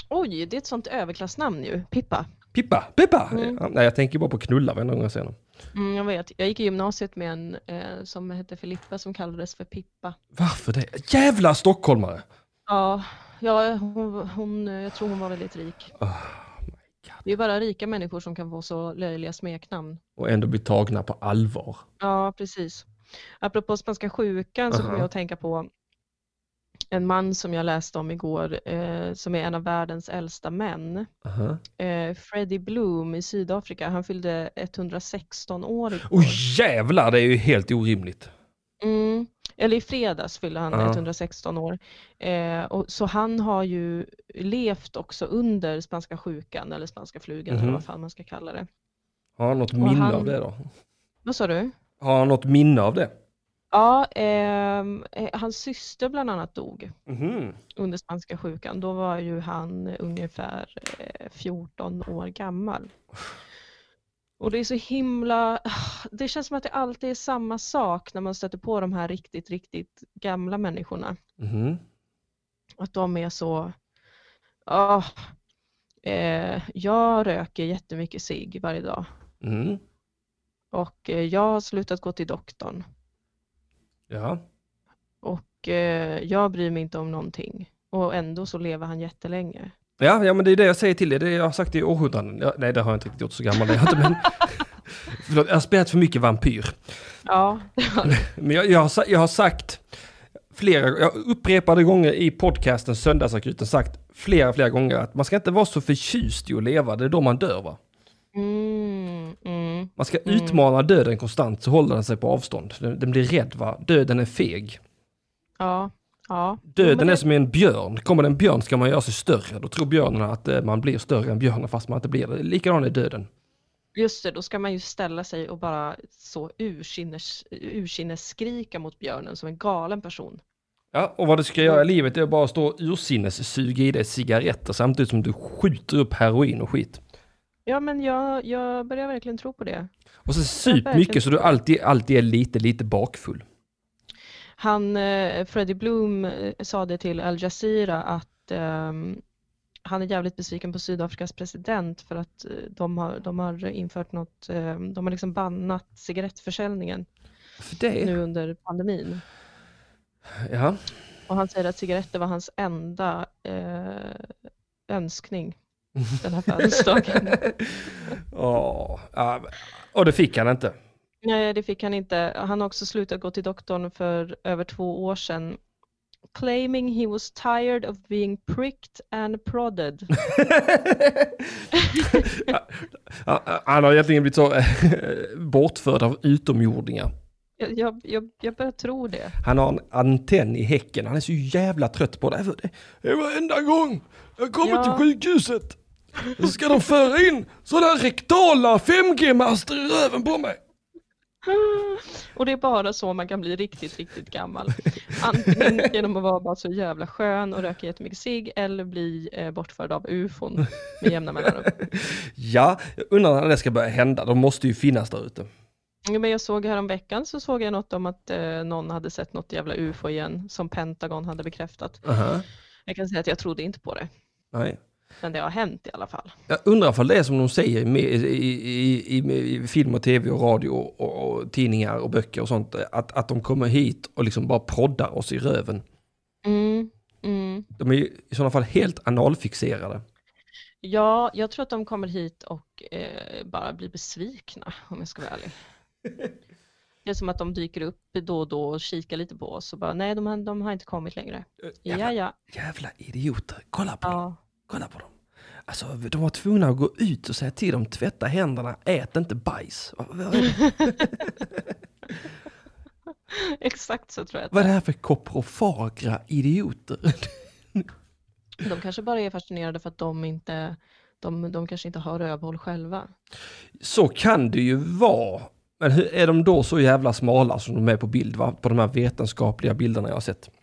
Oj, det är ett sånt överklassnamn ju. Pippa. Pippa, Pippa! Mm. Ja, nej, jag tänker bara på knulla varenda gång jag ser henne. Mm, jag vet. Jag gick i gymnasiet med en eh, som hette Filippa som kallades för Pippa. Varför det? Jävla stockholmare! Ja, ja hon, hon, jag tror hon var väldigt rik. Ah, Det är bara rika människor som kan få så löjliga smeknamn. Och ändå bli tagna på allvar. Ja, precis. Apropå spanska sjukan så Aha. kommer jag att tänka på en man som jag läste om igår eh, som är en av världens äldsta män. Aha. Eh, Freddie Bloom i Sydafrika, han fyllde 116 år igår. Och jävlar, det är ju helt orimligt. Mm. Eller i fredags fyllde han Ja. 116 år. Eh, och, så han har ju levt också under spanska sjukan eller spanska flugan Mhm. eller vad fan man ska kalla det. Har han något minne han- av det då? Vad sa du? Har han något minne av det? Ja, ehm, eh, hans syster bland annat dog Mhm. under spanska sjukan. Då var ju han ungefär eh, 14 år gammal. Och det är så himla, [sighs] det känns som att det alltid är samma sak när man stöter på de här riktigt, riktigt gamla människorna. Mhm. Att de är så, ah, eh, jag röker jättemycket cigg varje dag Mm. och eh, jag har slutat gå till doktorn Ja. och eh, jag bryr mig inte om någonting och ändå så lever han jättelänge. Ja, ja, men det är det jag säger till dig. Det är det jag har sagt i århundraden. Ja, nej, det har jag inte riktigt gjort så gammal. är Jag, inte, men... [laughs] Förlåt, jag har spelat för mycket vampyr. Ja, Men jag, jag, har, sa- jag har sagt flera, jag upprepade gånger i podcasten Söndagsakuten sagt flera, flera gånger att man ska inte vara så förtjust i att leva, det är då man dör va? mm, mm, Man ska Mm. utmana döden konstant så håller den sig på avstånd. Den, den blir rädd va? Döden är feg. ja, ja. Jo, Döden men är det- som en björn. Kommer det en björn ska man göra sig större. Då tror björnen att eh, man blir större än björnen fast man inte blir det. Likadan är döden. Just det, då ska man ju ställa sig och bara så ursinnes, ursinnes skrika mot björnen som en galen person. Ja, och vad du ska göra i livet är att bara stå och ursinnessuga i dig cigaretter samtidigt som du skjuter upp heroin och skit. Ja, men jag, jag börjar verkligen tro på det. Och så sup mycket så du alltid, alltid är lite, lite bakfull. Han, eh, Freddie Bloom eh, sa det till Al Jazeera att ehm, han är jävligt besviken på Sydafrikas president för att eh, de har, de har infört något, eh, de har liksom bannat cigarettförsäljningen För det? nu under pandemin. Ja. Och han säger att cigaretter var hans enda eh, önskning den [laughs] här födelsedagen. Åh, ja. Och det fick han inte. Nej, det fick han inte. Han har också slutat gå till doktorn för över två år sedan. Claiming he was tired of being pricked and prodded. Ja, han har egentligen blivit så [laughs] eh, bortförd av utomjordingar. Jag, jag, jag, jag börjar tro det. Han har en antenn i häcken. Han är så jävla trött på det. Det- Det är varenda gång jag kommer Ja. till sjukhuset så ska de föra in sådana här rektala 5G-master i röven på mig. Och det är bara så man kan bli riktigt, riktigt gammal. Antingen genom att vara bara så jävla skön och röka jättemycket cigg eller bli eh, bortförd av ufon med jämna mellanrum. Ja, jag undrar när det ska börja hända. De måste ju finnas där ute. Ja, Men jag såg häromveckan så såg jag något om att eh, någon hade sett något jävla ufo igen som Pentagon hade bekräftat. Jag kan säga att jag trodde inte på det. Nej. Men det har hänt i alla fall. Jag undrar ifall det är som de säger med- i, i, i, i, i film och tv och radio och, och tidningar och böcker och sånt. Att, att de kommer hit och liksom bara proddar oss i röven. Mm, mm. De är ju i sådana fall helt analfixerade. Ja, jag tror att de kommer hit och eh, bara blir besvikna om jag ska vara [laughs] ärlig. Det är som att de dyker upp då och då och kikar lite på oss och bara nej, de har, de har inte kommit längre. Ja, Jävla, ja, jävla idioter. Kolla på dem. ja. Kolla på dem. Alltså, de var tvungna att gå ut och säga till dem, tvätta händerna, ät inte bajs. Vad- vad är det? [laughs] Exakt så tror jag. Vad är det här för koprofagra idioter? att- De kanske bara är fascinerade för att de inte, de, de kanske inte har rövhål själva. Så kan det ju vara. Men hur är de då så jävla smala som de är på bild, va? på de här vetenskapliga bilderna jag har sett? [laughs]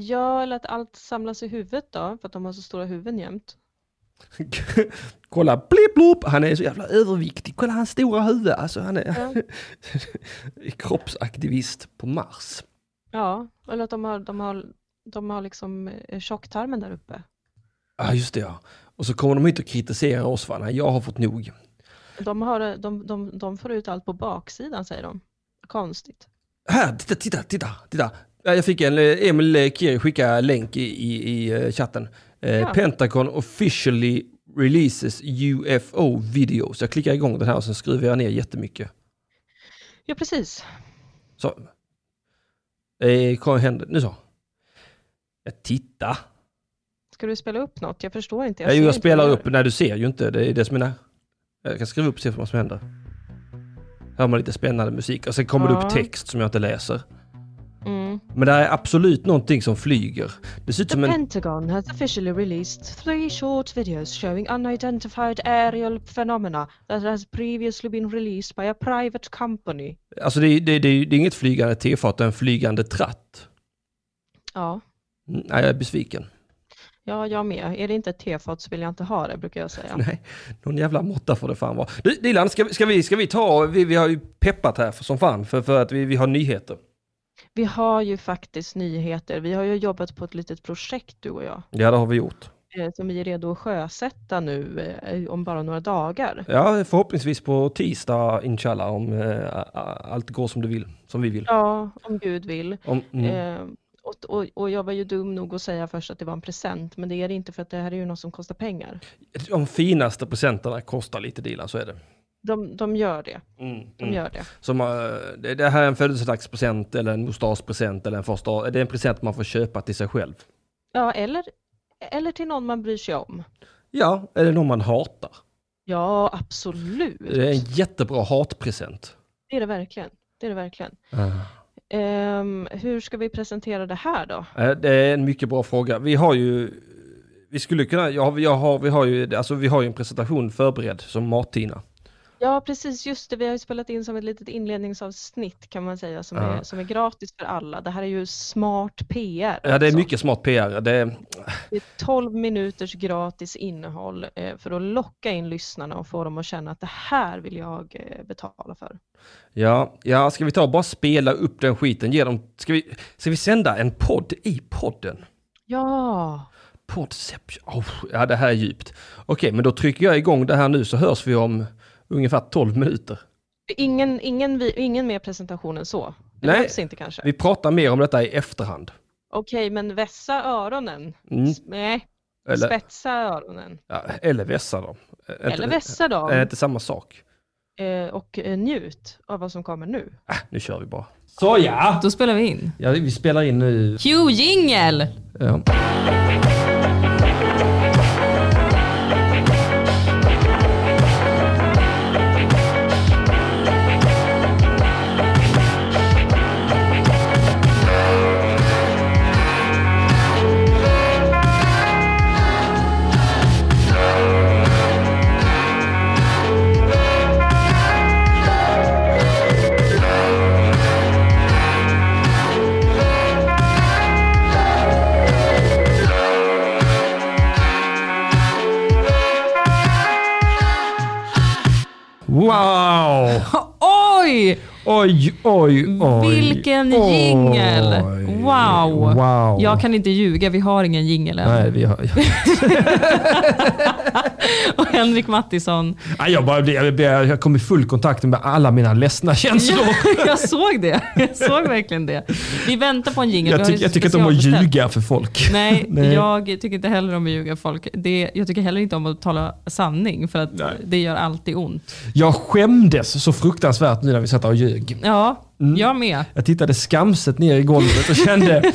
Ja, eller att allt samlas i huvudet då, för att de har så stora huvuden jämt. Kolla, blip blop, han är så jävla överviktig. Kolla hans stora huvud, alltså han är Ja. [laughs] kroppsaktivist på Mars. Ja, eller att de har, de har, de har liksom eh, tjocktarmen där uppe. Ja, just det ja. Och så kommer de hit och kritiserar oss, va? Nej, jag har fått nog. De, har, eh, de, de, de får ut allt på baksidan säger de. Konstigt. Här, titta, titta, titta, titta. Ja, Jag fick en, eh, Emil eh, Kiri skicka länk i, i, i eh, chatten. Eh, Ja. Pentagon officially releases UFO videos. Jag klickar igång den här och sen skruvar jag ner jättemycket. Ja, precis. Så. Eh, vad händer? Nu så. Ja, titta. Ska du spela upp något? Jag förstår inte. Jag, ser jag, inte vad spelar du upp, gör. nej du ser ju inte, det är det som är nä- Jag kan skriva upp och se vad som händer. Hör man lite spännande musik och sen kommer det Ja. upp text som jag inte läser. Mm. Men det är absolut någonting som flyger. Det ser ut The som en... Pentagon has officially released three short videos showing unidentified aerial phenomena that has previously been released by a private company. Alltså det, är- det, är- det, är- det är inget flygande tefat, det är en flygande tratt. Ja, Mm, Nej, jag är besviken. ja jag med. Är det inte ett tefat så vill jag inte ha det, brukar jag säga. Nej, någon jävla måtta får det fan vara. Du, Dilan, ska, vi- ska, vi, ska vi ta... Vi, vi har ju peppat här för, som fan för, för att vi, vi har nyheter. Vi har ju faktiskt nyheter. Vi har ju jobbat på ett litet projekt, du och jag, Ja, det har vi gjort. eh, som vi är redo att sjösätta nu eh, om bara några dagar. Ja, förhoppningsvis på tisdag, inshallah, om eh, a- a- allt går som du vill, som vi vill. Ja, om Gud vill. Om, mm. Eh, och, och, och jag var ju dum nog att säga först att det var en present, men det är det inte för att det här är ju något som kostar pengar. De finaste presenterna kostar lite Dilan, så är det. De, de gör det. Mm, De mm. gör det. Som, eh, det, det här är en födelsedagspresent eller en mustaschpresent eller en första... Det är en present man får köpa till sig själv. Ja, eller, eller till någon man bryr sig om. Ja, eller någon man hatar. Ja, absolut. Det är en jättebra hatpresent. Det är det verkligen. Det är det verkligen. Ah. Ehm, hur ska vi presentera det här då? Eh, Det är en mycket bra fråga. Vi har ju... Vi skulle kunna... Jag har, jag har, vi, har ju, alltså, vi har ju en presentation förberedd som Martina. Ja, precis. Just det. Vi har ju spelat in som ett litet inledningsavsnitt kan man säga som, Ja. är, som är gratis för alla. Det här är ju smart PR. Ja, det är alltså. mycket smart PR. Det är, Det är 12 minuters gratis innehåll eh, för att locka in lyssnarna och få dem att känna att det här vill jag eh, betala för. ja, ja, ska vi ta och bara spela upp den skiten? Ge dem, ska, vi, ska vi sända en podd i podden? Ja, Podception. Oh, ja, det här är djupt. Okej, men då trycker jag igång det här nu så hörs vi om ungefär 12 minuter. ingen, ingen, vi- ingen mer presentation än så. Det Nej. behövs inte kanske. Vi pratar mer om detta i efterhand. Okej, men vässa öronen. Mm. S- Nej, Eller, spetsa öronen. ja, eller vässa dem. Är inte Eller det- vässa dem. Är det inte samma sak? eh, Och eh, njut av vad som kommer nu. Ah, nu kör vi bara. Så ja. Då spelar vi in. ja! Vi spelar in nu. eh, Q jingel! Ja. Wow! Oj! Oj, oj, oj. Vilken Oj. jingel! Wow. Wow. Jag kan inte ljuga, vi har ingen jingel än. Nej, vi har... Och Henrik Mattisson, Nej, jag, bara, blir- jag, blir- jag kom i full kontakt med alla mina ledsna känslor. jag såg det. Jag såg verkligen det. Vi väntar på en jingel. Jag, vi har tyck, ju jag tycker inte om att specialbeställt. ljuga för folk. Nej, [laughs] Nej. jag tycker inte heller om att ljuga folk. Det, jag tycker heller inte om att tala sanning, för att det gör alltid ont. Jag skämdes så fruktansvärt nu när vi satt där och ljög. Ja, Mm. jag med. Jag tittade skamset ner i golvet och kände,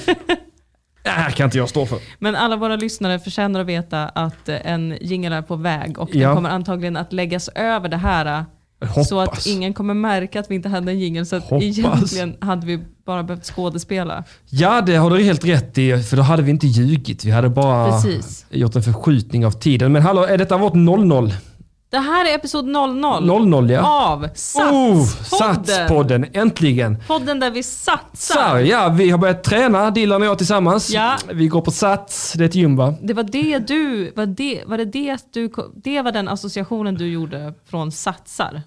[laughs] det här kan inte jag stå för. Men alla våra lyssnare förtjänar att veta att eh, en jingel är på väg och Ja. den kommer antagligen att läggas över det här eh, Hoppas. Så att ingen kommer märka att vi inte hade en jingel. Så att Hoppas. egentligen hade vi bara behövt skådespela. Ja, det har du helt rätt i, för då hade vi inte ljugit. Vi hade bara Precis. gjort en förskjutning av tiden. Men hallå, är detta vårt 00? Det här är episod 00 00 ja. av Oh, Satspodden. Satspodden, äntligen! Podden där vi satsar. Sar, ja, vi har börjat träna, Dilan och jag tillsammans. Ja. Vi går på Sats, det är ett gym va? Det var det du, var det, var det det du, det var den associationen du gjorde från satsar.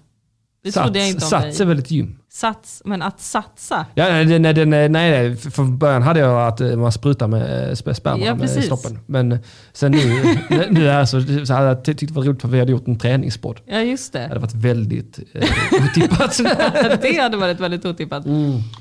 Det trodde jag inte om Sats är dig. väl ett gym? Sats, men att satsa. Ja, nej, det- nej, det- nej, nej, nej, från början hade jag att eh, man sprutar med eh, sp- sperma Ja, med precis. snoppen. Men sen nu, [laughs] nu är så, så hade jag ty- tyckt det var roligt för vi hade gjort en träningspodd. Ja just Det det. hade varit väldigt eh, [laughs] otippat. [laughs] Det hade varit väldigt otippat.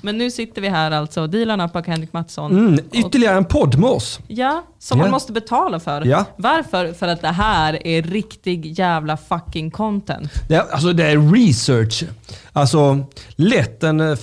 Men nu sitter vi här alltså, Dilan Apak och Henrik Mattsson. Mm, Och, ytterligare en podd med oss. ja, som Ja. man måste betala för. Ja. Varför? För att det här är riktig jävla fucking content. Det, alltså det är research. Alltså lätt en eh,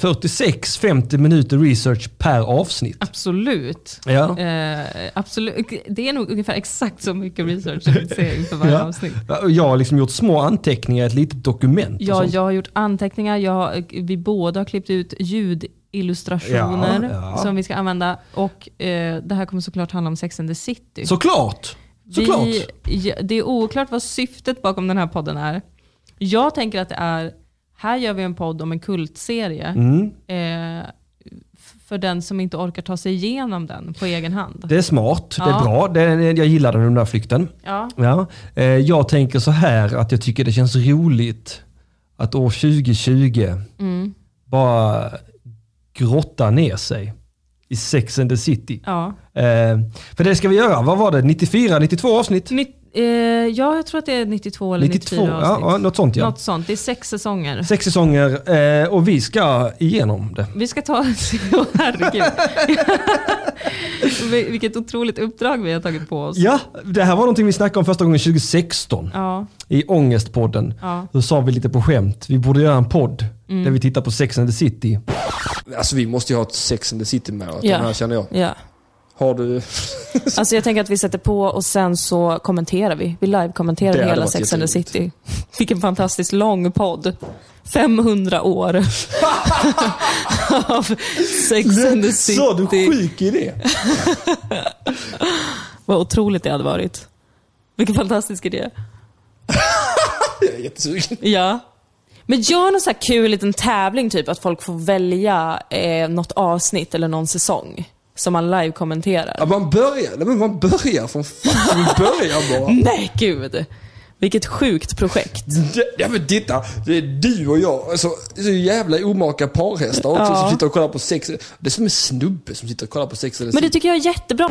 46-50 minuter research per avsnitt. Absolut. Ja. Eh, absolut. Det är nog ungefär exakt så mycket research som vi ser inför varje Ja. avsnitt. Jag har liksom gjort små anteckningar i ett litet dokument. och Ja, sånt. jag har gjort anteckningar, jag har, eh, vi båda har klippt ut ljudillustrationer Ja, ja. som vi ska använda. Och eh, det här kommer såklart handla om Sex and the City. Såklart! Såklart! Vi, ja, det är oklart vad syftet bakom den här podden är. Jag tänker att det är, här gör vi en podd om en kultserie. Mm. Eh, f- för den som inte orkar ta sig igenom den på egen hand. Det är smart, det är Ja. bra. Det, jag gillar den, den där flykten. Ja. Ja. Eh, jag tänker så här att jag tycker det känns roligt att år 2020 bara grotta ner sig i Sex and the City. ja. Eh, för det ska vi göra, vad var det? 94, 92 avsnitt? Nytt, eh, ja, jag tror att det är 92 eller 92, 94 ja, avsnitt. ja, något sånt ja. Något sånt. Det är sex säsonger. Sex säsonger eh, och vi ska igenom det. Vi ska ta... [laughs] Åh, [laughs] Herregud. Vil- Vilket otroligt uppdrag vi har tagit på oss. Ja, det här var någonting vi snackade om första gången 2016 Ja, i Ångestpodden. ja. Då sa vi lite på skämt, vi borde göra en podd där vi tittar på Sex and the City. Alltså vi måste ju ha ett Sex and the City maraton Ja. här känner jag. Ja. Har du... Alltså jag tänker att vi sätter på och sen så kommenterar vi. Vi Det live-kommenterar hade hela varit Sex and the jätteroligt. City. [laughs] Vilken fantastiskt lång podd. [laughs] 500 år av Sex [laughs] and the City. sjuk idé? Vad otroligt det hade varit. Vilken fantastisk idé. Jag är jättesugen. Ja. Men gör någon så här kul liten tävling, typ att folk får välja eh, något avsnitt eller någon säsong som man live-kommenterar. Ja, man börjar, nej, men man börjar från fucking början bara. Nej, gud. Vilket sjukt projekt. Ja men titta, det är du och jag. Alltså, det är så jävla omaka parhästar också Ja. som sitter och kollar på sex. Det är som en snubbe som sitter och kollar på sex eller Men det tycker jag är jättebra.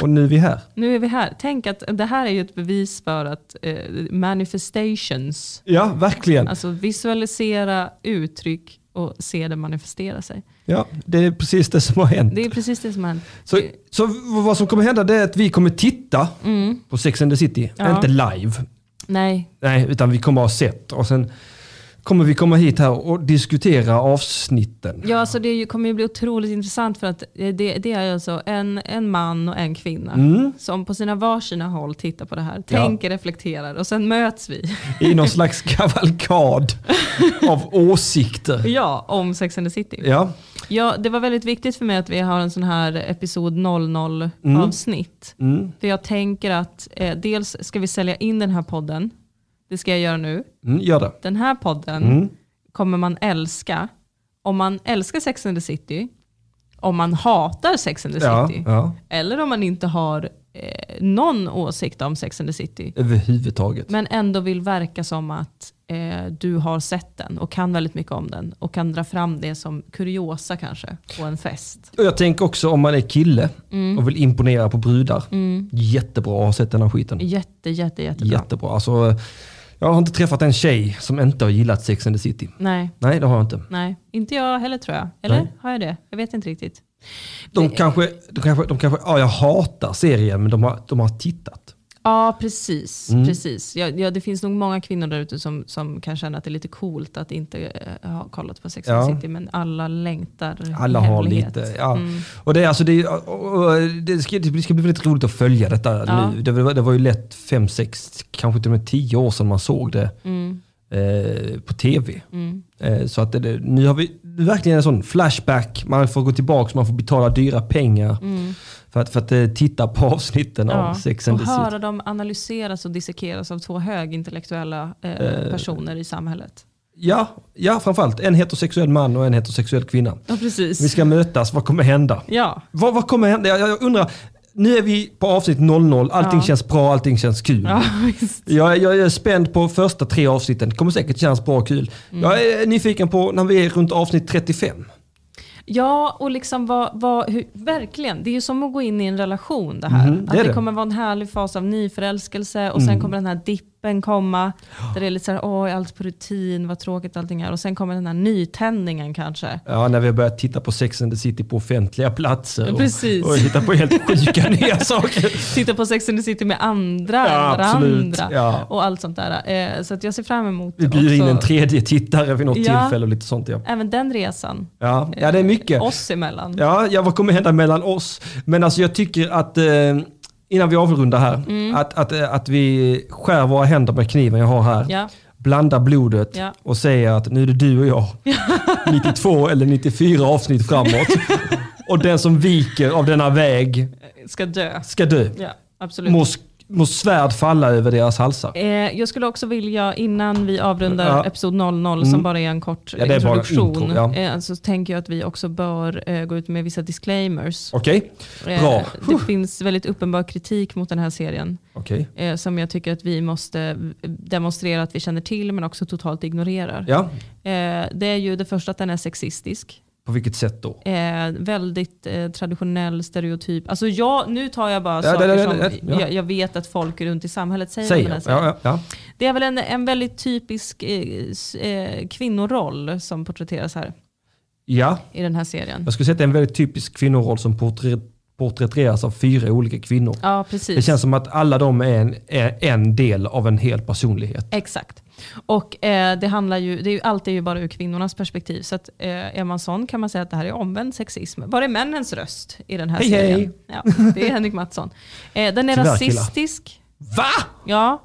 Och nu är vi här. Nu är vi här. Tänk att det här är ju ett bevis för att eh, manifestations, Ja, verkligen. alltså visualisera uttryck och se det manifestera sig. Ja, det är precis det som har hänt. Det är precis det som händer. Så, så vad som kommer hända det är att vi kommer titta på Sex and the City. Mm. Ja. Inte live, Nej, nej, utan vi kommer ha sett. Och sen kommer vi komma hit här och diskutera avsnitten. Ja, alltså det är ju- kommer ju bli otroligt intressant för att eh, det, det är alltså en, en man och en kvinna som på sina varsina håll tittar på det här, tänker, reflekterar och sen möts vi. I någon slags kavalkad av åsikter. Ja, om Sex and the City. Ja. Ja, det var väldigt viktigt för mig att vi har en sån här episod 00 avsnitt. För jag tänker att eh, dels ska vi sälja in den här podden, det ska jag göra nu. mm, gör det. Den här podden kommer man älska om man älskar Sex and the City, om man hatar Sex and the Ja, City. ja, Eller om man inte har eh, någon åsikt om Sex and the City. överhuvudtaget. Men ändå vill verka som att eh, du har sett den och kan väldigt mycket om den. Och kan dra fram det som kuriosa kanske på en fest. Och jag tänker också om man är kille Mm. och vill imponera på brudar. Jättebra att ha sett den här skiten. Jätte, jätte, jättebra. Jättebra. Alltså, jag har inte träffat en tjej som inte har gillat Sex and the City. Nej, Nej, det har jag inte. nej. Inte jag heller tror jag. Eller Nej. har jag det? Jag vet inte riktigt. De kanske, de kanske, de kanske ja, jag hatar serien, men de har, de har tittat. Ja, precis. precis. Ja, ja, det finns nog många kvinnor där ute som, som kan känna att det är lite coolt att inte eh, ha kollat på Sex and the Ja. City. Men alla längtar Alla har hemlighet. Mm. lite. Ja. Och det, är alltså, det, är- och- och det, ska, det ska bli väldigt roligt att följa detta Ja. Mm. nu. Det, var- det var ju lätt fem, sex, kanske till och med tio år sedan man såg det. eh, på tv. Eh, så att det- det, nu har vi verkligen en sån flashback. Man får gå tillbaka, man får betala dyra pengar för, att, för att eh, titta på avsnitten av Sex and Mm. och the City. höra dem analyseras och dissekeras av två högintellektuella eh, personer i samhället. Ja, ja, framförallt en heterosexuell man och en heterosexuell kvinna. Ja, precis. Vi ska mötas, vad kommer hända? Ja, Vad, vad kommer hända? Jag, jag undrar, nu är vi på avsnitt 00, allting Ja. känns bra, allting känns kul. ja visst. Jag, jag är spänd på första tre avsnitten, det kommer säkert kännas bra och kul. Mm. Jag är nyfiken på när vi är runt avsnitt 35. Ja, och liksom vad, vad, hur, verkligen, det är ju som att gå in i en relation det här. Mhm, det att är Mm. det, Mm. det. kommer vara en härlig fas av nyförälskelse och Mm. sen kommer [laughs] den här dippen komma. Där det är lite så här, åh, är allt på rutin, vad tråkigt allting är. Och sen kommer den här nytändningen kanske. Ja, när vi har börjat titta på Sex and the City på offentliga platser och, Precis. och hitta på helt [laughs] sjuka nya saker. Titta på Sex and the City med andra, Ja, än absolut. varandra Ja. och allt sånt där. Eh, så att jag ser fram emot Vi bjuder in också en tredje tittare vid något Ja. tillfälle och lite sånt. Ja, även den resan. eh, ja. ja det är mycket. Oss emellan. Ja, ja, vad kommer hända mellan oss? Men alltså jag tycker att, eh, innan vi avrundar här, Mm. att, att, eh, att vi skär våra händer med kniven jag har här. Ja. Blandar blodet Ja. och säger att nu är det du och [laughs] jag. 92 eller 94 avsnitt [laughs] framåt. och den som viker av denna väg Ska dö. ska dö. Ja, absolut. Må, sk- må svärd falla över deras halsar. Eh, jag skulle också vilja, innan vi avrundar Ja. Mm. episod 00 som bara är en kort Ja, det är bara introduktion, intro, ja. eh, så tänker jag att vi också bör eh, gå ut med vissa disclaimers. Okej? Eh, Bra. det finns väldigt uppenbar kritik mot den här serien Okej. eh, som jag tycker att vi måste eh, demonstrera att vi känner till men också totalt ignorerar. Ja, Eh, det är ju det första att den är sexistisk. på vilket sätt då? Eh, väldigt eh, traditionell, stereotyp. Alltså jag, nu tar jag bara Ja, saker det- det- som det- ja. Jag, jag vet att folk runt i samhället säger. om Säg. den här Ja, serien. ja, ja. Det är väl en, en väldigt typisk eh, s- eh, kvinnoroll som porträtteras här ja, i den här serien. Jag skulle säga att det är en väldigt typisk kvinnoroll som porträ- porträtteras av fyra olika kvinnor. Ja, Det precis. känns som att alla de är en, är en del av en hel personlighet. Exakt. Och eh, det handlar ju, det är ju, allt är ju bara ur kvinnornas perspektiv. Så att, eh, är man sån kan man säga att det här är omvänd sexism. Var är männens röst i den här Hej, serien? hej. Ja, det är Henrik Mattsson. Eh, den Tyvärr, är killar. rasistisk. Va? Ja,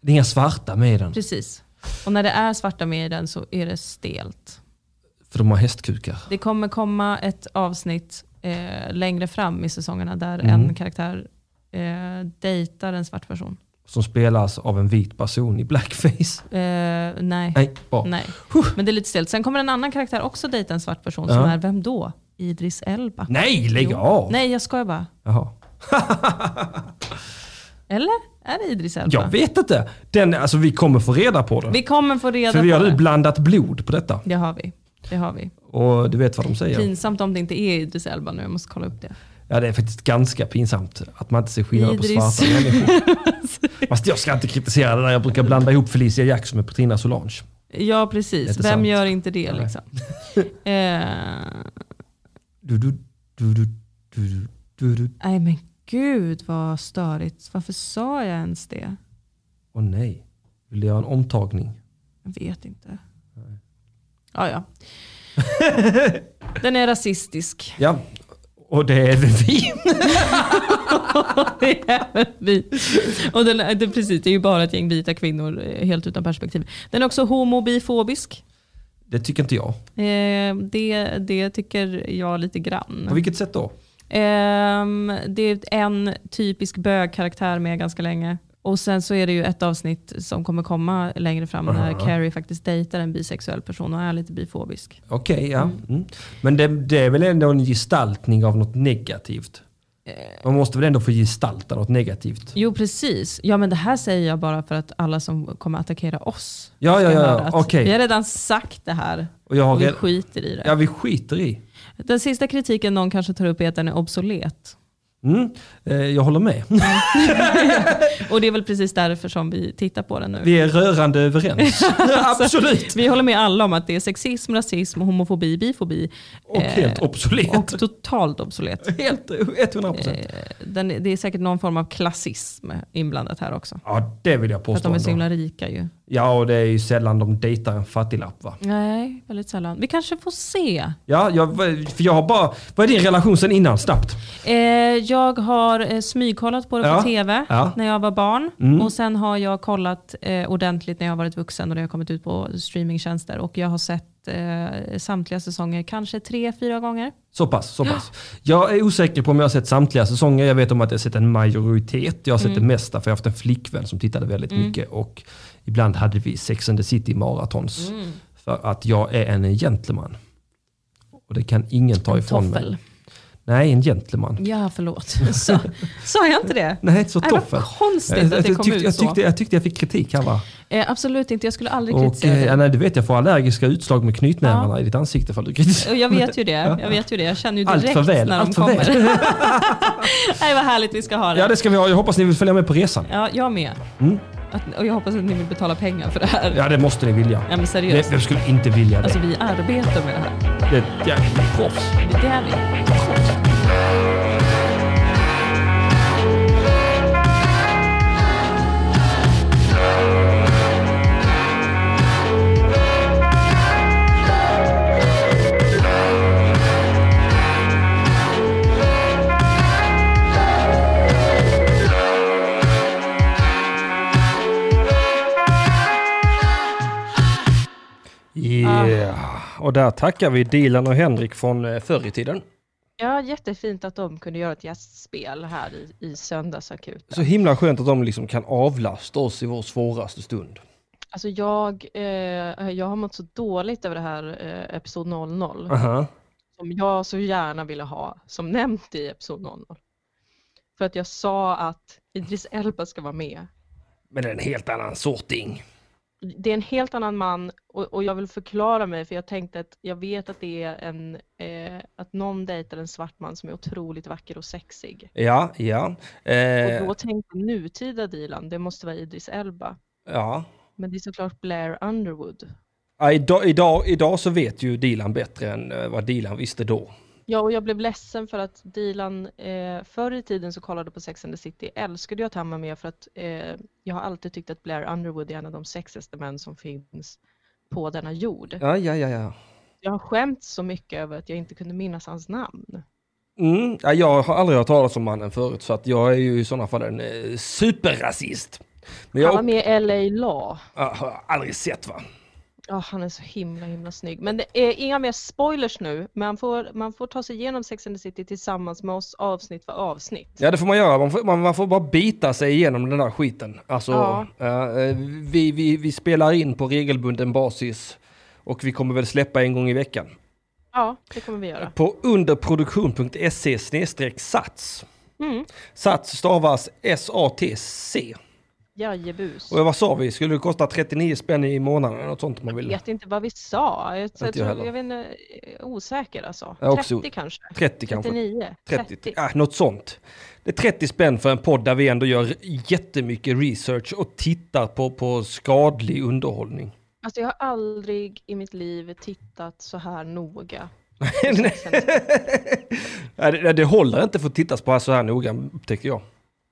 Det är inga svarta med i den, precis. Och när det är svarta med i den så är det stelt. för de har hästkukar. Det kommer komma ett avsnitt eh, längre fram i säsongerna där Mm. en karaktär eh, dejtar en svart person. Som spelas av en vit person i blackface. Eh, nej. Nej, bra. nej. Men det är lite stelt. Sen kommer en annan karaktär också dejta en svart person som Ja. är, vem då? Idris Elba. Nej, lägg Jo. av! Nej, jag skojar bara. Jaha. Eller? Är det Idris Elba? Jag vet inte. Den, alltså, vi kommer få reda på det. Vi kommer få reda För vi har på nu det. blandat blod på detta. Det har vi. Det har vi. Och du vet vad de säger. Pinsamt om det inte är Idris Elba nu. Jag måste kolla upp det. Ja, det är faktiskt ganska pinsamt att man inte ser skillnad på Idris. svarta människor. [laughs] Fast jag ska inte kritisera det där. Jag brukar blanda ihop Felicia Jackson med Petrina Solange. Ja, precis. Jättesant. Vem gör inte det Nej. [laughs] liksom? eh, Du, du, du, du, du, du, du. Nej men gud vad störigt. Varför sa jag ens det? Åh nej, vill du göra en omtagning? Jag vet inte. Ja, ja. Den [laughs] är rasistisk. [laughs] Ja, och det är [laughs] även vi. Det är även vi. Och den, är- det, är precis, det är ju bara ett gäng vita kvinnor eh, helt utan perspektiv. Den är också homobifobisk. Det tycker inte jag. Eh, det, det tycker jag lite grann. På vilket sätt då? Ehm, det är en typisk bögkaraktär med ganska länge. Och sen så är det ju ett avsnitt som kommer komma längre fram när Carrie faktiskt dejtar en bisexuell person och är lite bifobisk. Okej, ja. Mm. Men det, det är väl ändå en gestaltning av något negativt? Eh. Man måste väl ändå få gestalta något negativt? Jo precis, ja men det här säger jag bara för att alla som kommer attackera oss Ja, ja, ska ja, höra ja. att okej. Vi har redan sagt det här Och jag har och vi red- skiter i det. Ja, vi skiter i. Den sista kritiken någon kanske tar upp är att den är obsolet. Mm. Eh, jag håller med. Och det är väl precis därför som vi tittar på den nu. Vi är rörande [laughs] överens. Alltså, Absolut. Vi håller med alla om att det är sexism, rasism, homofobi, bifobi. eh, Och helt obsolet. Eh, Och totalt obsolet. Helt 100 procent. Den, det är säkert någon form av klassism inblandat här också. Ja, det vill jag För att påstå. de är så ändå. himla rika ju. Ja, och det är ju sällan de dejtar en fattiglapp va? Nej, väldigt sällan. Vi kanske får se. Ja, jag, för jag har bara... Vad är din relation sen innan? Snabbt. Eh, jag har eh, smygkollat på det Ja, på tv ja. Mm. när jag var barn. Och sen har jag kollat eh, ordentligt när jag har varit vuxen och det har kommit ut på streamingtjänster. Och jag har sett eh, samtliga säsonger kanske tre, fyra gånger. Så pass, så pass. Jag är osäker på om jag har sett samtliga säsonger. Jag vet om att jag har sett en majoritet. Jag har sett Mm. det mesta för jag har haft en flickvän som tittade väldigt mycket. Och ibland hade vi Sex and the City maratons. Mm. För att jag är en gentleman. Och det kan ingen ta ifrån toffel. mig. Nej, en gentleman. Ja, förlåt. [laughs] Så, sa jag inte det? Nej, så Nej, toffel. vad konstigt Jag, att det Eh, jag, kom tyckte, ut jag, så. tyckte, jag tyckte jag fick kritik här va? Eh, absolut inte, jag skulle aldrig Och, kritisera eh, dig. ja, nej, du vet jag får allergiska utslag med knytnävarna i ditt ansikte för att du kritiserar. Och Jag vet ju det. Jag vet ju det. Jag känner ju Allt direkt för väl, när de allt för kommer. väl. [laughs] Nej, vad härligt vi ska ha det. Ja det ska vi ha. Jag hoppas ni vill följa med på resan. Ja, jag med. Att, och jag hoppas att ni vill betala pengar för det här. Ja det måste ni vilja. Ja, men Vem seriöst. vem skulle inte vilja det? Alltså vi arbetar med det här. det är ett jävla proffs. Det är vi. Yeah. Och där tackar vi Dilan och Henrik från eh, förr i tiden. Ja, jättefint att de kunde göra ett gästspel här i, i söndagsakuten. Så himla skönt att de liksom kan avlasta oss i vår svåraste stund. Alltså jag, eh, jag har mått så dåligt över det här eh, episod 00 Aha. som jag så gärna ville ha som nämnt i episod 00. För att jag sa att Idris Elba ska vara med. Men det är en helt annan sorting. Det är en helt annan man och, och jag vill förklara mig för jag tänkte att jag vet att det är en, eh, att någon dejtar en svart man som är otroligt vacker och sexig. Ja, ja. Och Eh, då tänkte jag nutida Dilan, det måste vara Idris Elba. ja. Men det är såklart Blair Underwood. Ja, idag, idag, idag så vet ju Dilan bättre än eh, vad Dilan visste då. Ja, och jag blev ledsen för att Dilan eh, förr i tiden så kollade på Sex and the City älskade jag att han var med för att eh, jag har alltid tyckt att Blair Underwood är en av de sexigaste män som finns på denna jord. Ja, ja, ja. ja. Jag har skämt så mycket över att jag inte kunde minnas hans namn. Mm. ja jag har aldrig hört talas om mannen förut så att jag är ju i sådana fall en eh, superrasist. Men jag Han var har med i LA Law. har aldrig sett va. Ja, han är så himla himla snygg. Men det är inga mer spoilers nu. Man får, man får ta sig igenom Sex and the City tillsammans med oss avsnitt för avsnitt. Ja det får man göra, man får, man, man får bara bita sig igenom den där skiten. Alltså, Ja. eh, vi, vi, vi spelar in på regelbunden basis och vi kommer väl släppa en gång i veckan. Ja, det kommer vi göra. På underproduktion.se sats. Mm. Sats stavas S-A-T-C. Jajebus. Och vad sa vi, skulle det kosta 39 spänn i månaden? Något sånt om man Jag vill. vet inte vad vi sa. Jag, jag, jag tror, heller. jag vet inte, eh, osäker alltså. Jag är också 30 kanske? 30 kanske? 39? 30. 30. Ah, något sånt. Det är 30 spänn för en podd där vi ändå gör jättemycket research och tittar på, på skadlig underhållning. Alltså jag har aldrig i mitt liv tittat så här noga. Nej. [laughs] Nej, det, det håller inte för att tittas på så här noga, upptäcker jag.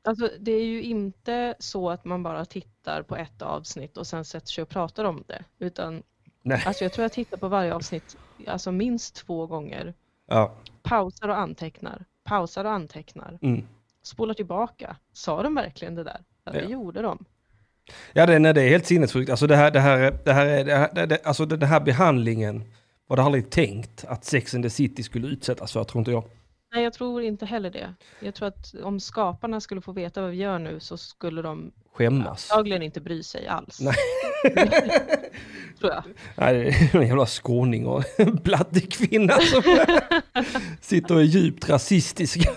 Alltså det är ju inte så att man bara tittar på ett avsnitt och sen sätter sig och pratar om det. Utan Nej. alltså jag tror jag tittar på varje avsnitt alltså minst två gånger. Ja. Pausar och antecknar. Pausar och antecknar. Mm. Spolar tillbaka. Sa de verkligen det där? Ja, det Ja. gjorde de. Ja, det, nej, det är helt sinnessjukt. Alltså det här, det här, är- det här, är- det här, det, det, alltså den här behandlingen var det aldrig tänkt att Sex and the City skulle utsättas för, tror inte jag. Nej, jag tror inte heller det. Jag tror att om skaparna skulle få veta vad vi gör nu så skulle de Skämmas. antagligen inte bry sig alls. Nej. [laughs] tror jag. Nej, det är en jävla skåning och en blattekvinna som sitter och är djupt rasistisk.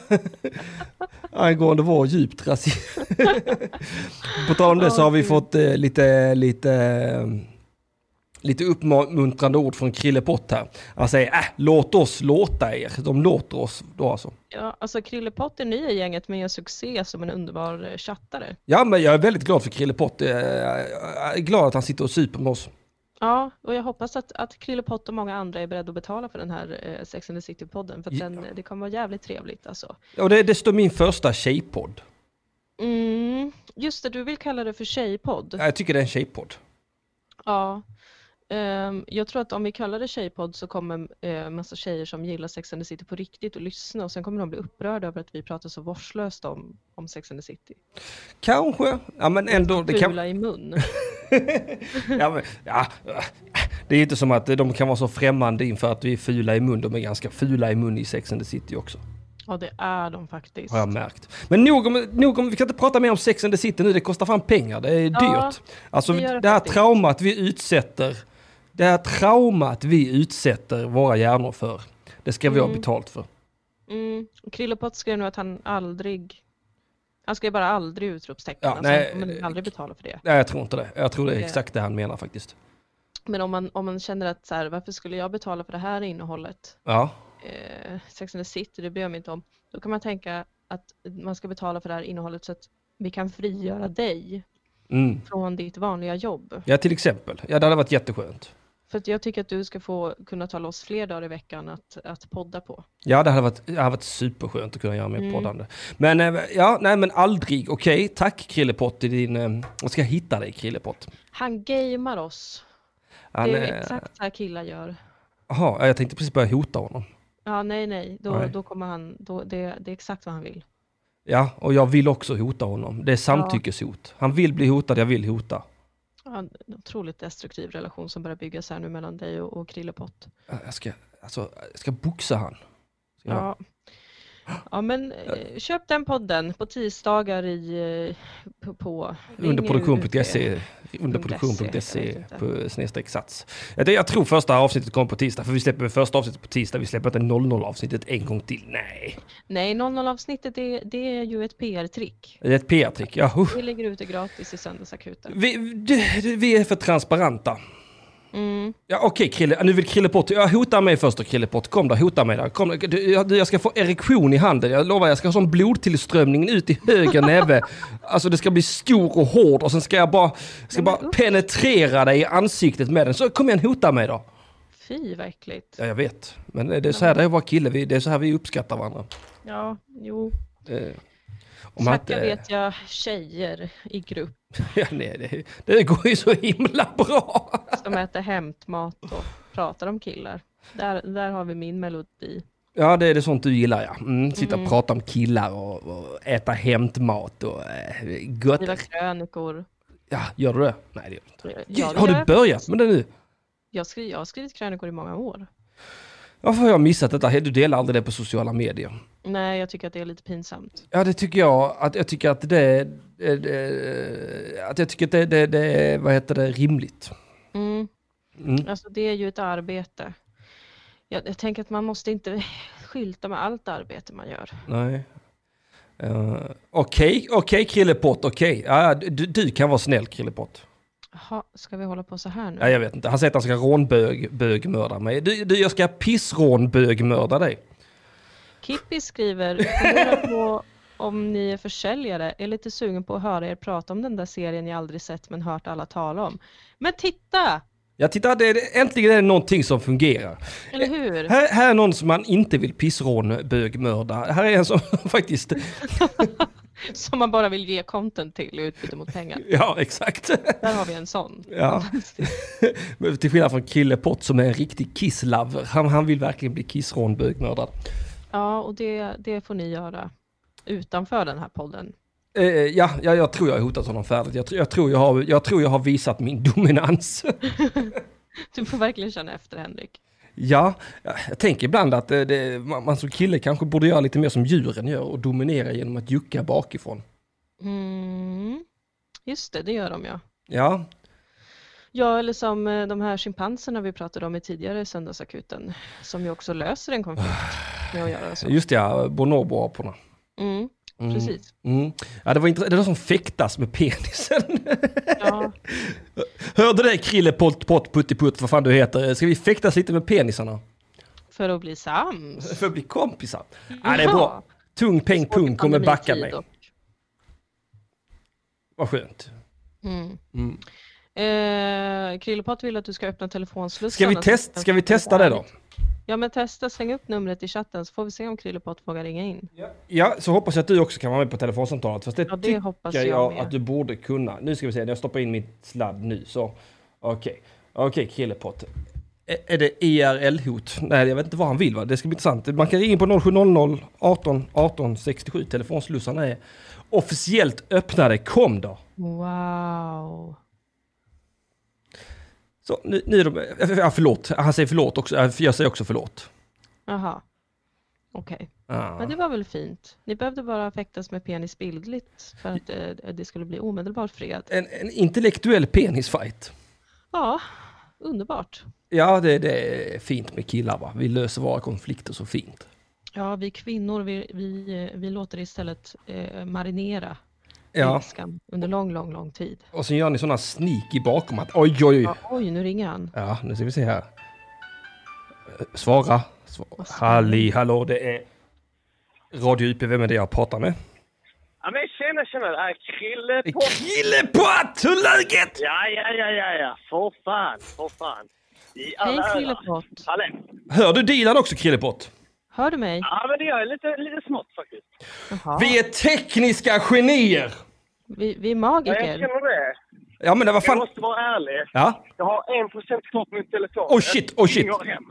Angående vår djupt rasist. På tal om det så har vi fått eh, lite, lite, eh, lite uppmuntrande ord från Krille Pott här. Han säger äh, låt oss låta er. De låter oss då alltså. Ja, alltså Krillepott är ny i gänget men gör succé som en underbar eh, chattare. Ja, men jag är väldigt glad för Krille Pott. Eh, Jag är glad att han sitter och super med oss. Ja, och jag hoppas att, att Krillepott och många andra är beredda att betala för den här eh, Sex and the City-podden för att Ja. den, det kommer vara jävligt trevligt alltså. Och det, det står min första tjejpodd. Mm, just det, du vill kalla det för tjejpodd. Ja, Jag tycker det är en tjejpodd. Ja. Ehm, jag tror att om vi kallar det tjejpodd så kommer uh, massa tjejer som gillar Sex and the City på riktigt att lyssna och sen kommer de bli upprörda över att vi pratar så vårdslöst om, om Sex and the City. Kanske. Ja men ändå. Det, kan, Fula i mun. [laughs] ja, men, ja, äh, det är ju inte som att de kan vara så främmande inför att vi är fula i mun. De är ganska fula i mun i Sex and the City också. Ja, det är de faktiskt. Har jag märkt. Men nog om, nog om, vi kan inte prata mer om Sex and the City nu, det kostar fan pengar, det är Ja, dyrt. Alltså det gör det, det här faktiskt. traumat vi utsätter, det här traumat vi utsätter våra hjärnor för, det ska vi ha betalt för. Mm. och Krillepott skrev nu att han aldrig... Han skrev bara aldrig utropstecken. Ja, alltså, nej. han kommer aldrig betala för det. Nej, jag tror inte det. Jag tror det är Det- exakt det han menar faktiskt. Men om man, om man känner att så här, varför skulle jag betala för det här innehållet? Ja, eh, Sex and the City, det bryr jag mig inte om. Då kan man tänka att man ska betala för det här innehållet så att vi kan frigöra dig mm. från ditt vanliga jobb. ja till exempel. Ja, det hade varit jätteskönt. För att jag tycker att du ska få kunna ta loss fler dagar i veckan att, att podda på. Ja, det hade varit, det hade varit superskönt att kunna göra mer Mm. poddande. Men eh, ja, nej men aldrig. Okej, tack Krillepott i din... eh, Jag ska hitta dig Krillepott. Han gamear oss. Han, det är eh, exakt så här killar gör. Jaha, ja, jag tänkte precis börja hota honom. Ja, nej, nej. Då, Nej. då kommer han, då, det, det är exakt vad han vill. Ja, och jag vill också hota honom. Det är samtyckeshot. Han vill bli hotad, jag vill hota. Ja, En otroligt destruktiv relation som börjar byggas här nu mellan dig och, och Krillepott. Jag ska, alltså, jag ska boxa han. Ja. Ja. Ja men eh, köp den podden på tisdagar i, eh, på, på Underproduktion.se, Jag vet underproduktion.se inte. E på eh, snedstreck sats. Jag jag tror första avsnittet kommer på tisdag, för vi släpper första avsnittet på tisdag. Vi släpper inte 00 avsnittet en gång till. Nej, Nej 00-avsnittet det, det är ju ett PR-trick. det är ett PR-trick. Ja, huh. Vi lägger ut det gratis i söndagsakuten. vi, det- det- vi är för transparenta. Mm. Ja, Okej Krille, nu vill Krille Pott, jag hotar mig först då Krille Pott, kom då, hota mig där. Kom, du, jag, du, jag ska få erektion i handen, jag lovar, jag ska ha sån blodtillströmning ut i [laughs] höger näve. Alltså det ska bli stor och hård och sen ska jag bara, ska bara penetrera dig i ansiktet med den. Så kom igen, hota mig då. Fy vad äckligt. Ja, jag vet. Men det är så här det är att vara kille, vi, det är så här vi uppskattar varandra. Ja, jo. Eh, om man Snacka inte, vet jag tjejer i grupp [laughs] ja, nej, det, det går ju så himla bra. som äter hämtmat och pratar om killar. Där, där har vi min melodi. Ja, det är det sånt du gillar ja. Mm, sitta och prata om killar och, och äta hämtmat och äh, gott. Skriva krönikor. Ja, gör du det? Nej, det gör du inte. Ja, det har gör du jag. börjat med det nu? Jag, skri, jag har skrivit krönikor i många år. Varför har jag missat detta? Du delar aldrig det på sociala medier. Nej, jag tycker att det är lite pinsamt. Ja, det tycker jag. Att jag tycker att det... det, det att jag tycker att det, det, det... Vad heter det? Rimligt. Mm. Mm. Alltså det är ju ett arbete. Jag, jag tänker att man måste inte [laughs] skylta med allt arbete man gör. Nej. Eh, Okej, okej Krillepott, okej. Ja, du, du kan vara snäll Krillepott. Jaha, ska vi hålla på så här nu? Ja, jag vet inte. Han säger att han ska rånbög- bögmörda mig. Du, du, jag ska pissrånbögmörda dig. Kippi skriver, "Fundera på om ni är försäljare, är lite sugen på att höra er prata om den där serien jag aldrig sett men hört alla tala om. Men titta! Jag tittar, det är, äntligen är det någonting som fungerar. Eller hur? Här, här är någon som man inte vill pissrånbögmörda. Här är en som [laughs] faktiskt... [laughs] Som man bara vill ge content till i utbyte mot pengar. Ja, exakt. [laughs] Där har vi en sån. Ja. Men Till skillnad från Kille Pott som är en riktig kisslover. Han, han vill verkligen bli kissrånbögmördad. Ja, och det, det får ni göra utanför den här podden. Eh, ja, ja, jag tror jag har hotat honom färdigt. Jag, tr- jag, tror jag, har, jag tror jag har visat min dominans. Du får verkligen känna efter Henrik. Ja, jag tänker ibland att eh, det, man man som kille kanske borde göra lite mer som djuren gör och dominera genom att jucka bakifrån. Mm. Just det, det gör de ja. Ja, Ja, eller som eh, de här schimpanserna vi pratade om i tidigare Söndagsakuten, som ju också löser en konflikt Ah. med att göra så. just det, ja, bonoboaporna. Mm, Mm. precis. Mm. Ja, det var intressant. Det är de som fäktas med penisen. [laughs] Ja, Hörde det Krille Pott Pott Puttiputt, vad fan du heter? Ska vi fäktas lite med penisarna? för att bli sams. För att bli kompisar? Ja, det är bra. Tung peng pung kommer backa mig. Pandemitid dock. Vad skönt. Mm. Mm. Eh, Krillepott vill att du ska öppna telefonslussarna. Ska vi, så att test, den ska vi kan testa det då? Ja, men testa. Släng upp numret i chatten så får vi se om Krillepott vågar ringa in. Ja, så hoppas jag att du också kan vara med på telefonsamtalet. Fast det, Ja, det tycker hoppas jag, jag med. att du borde kunna. Nu ska vi se, jag stoppar in mitt sladd nu. Så. Okej, okej killepott. Ä- Är det IRL-hot? Nej, jag vet inte vad han vill va? Det ska bli intressant. Man kan ringa in på 0700 18 18 67. Telefonslussarna är officiellt öppnade. Kom då! Wow. Så nu, nu är de... Ja, förlåt. Han säger förlåt också. Ja, Jag säger också förlåt. Jaha. Okej. Ah. Men det var väl fint. Ni behövde bara fäktas med penis bildligt för att eh, det skulle bli omedelbar fred. En, en intellektuell penisfight. Ja, underbart. Ja, det, det är fint med killar va? Vi löser våra konflikter så fint. Ja, vi kvinnor, vi, vi, eh, vi låter istället eh, marinera Ja, ilskan under lång, lång, lång tid. Mm. och sen gör ni sådana sneaky bakom att oj, oj, oj. Ja, oj, nu ringer han. Ja, nu ska vi se här. Eh, Svara. Svara. Halli hallå, det är Radio UP. Vem är det jag pratar med? Ja men tjena tjena, det här är Krille på... Kille på att! Hur läget? Ja, ja, ja, ja, ja, för fan, för fan. I alla Hej ögon. Krillepott! Hallå. Hör du Dilan också Krillepott? Hör du mig? Ja men det gör jag lite, lite smått faktiskt. Jaha. Vi är tekniska genier! Vi, vi är Ja, jag magiker. känner det. Ja men vad Jag fan... måste vara ärlig. Ja, Jag har en procent kvar på min telefon. Oh, shit, oh, shit. Jag ringer hem.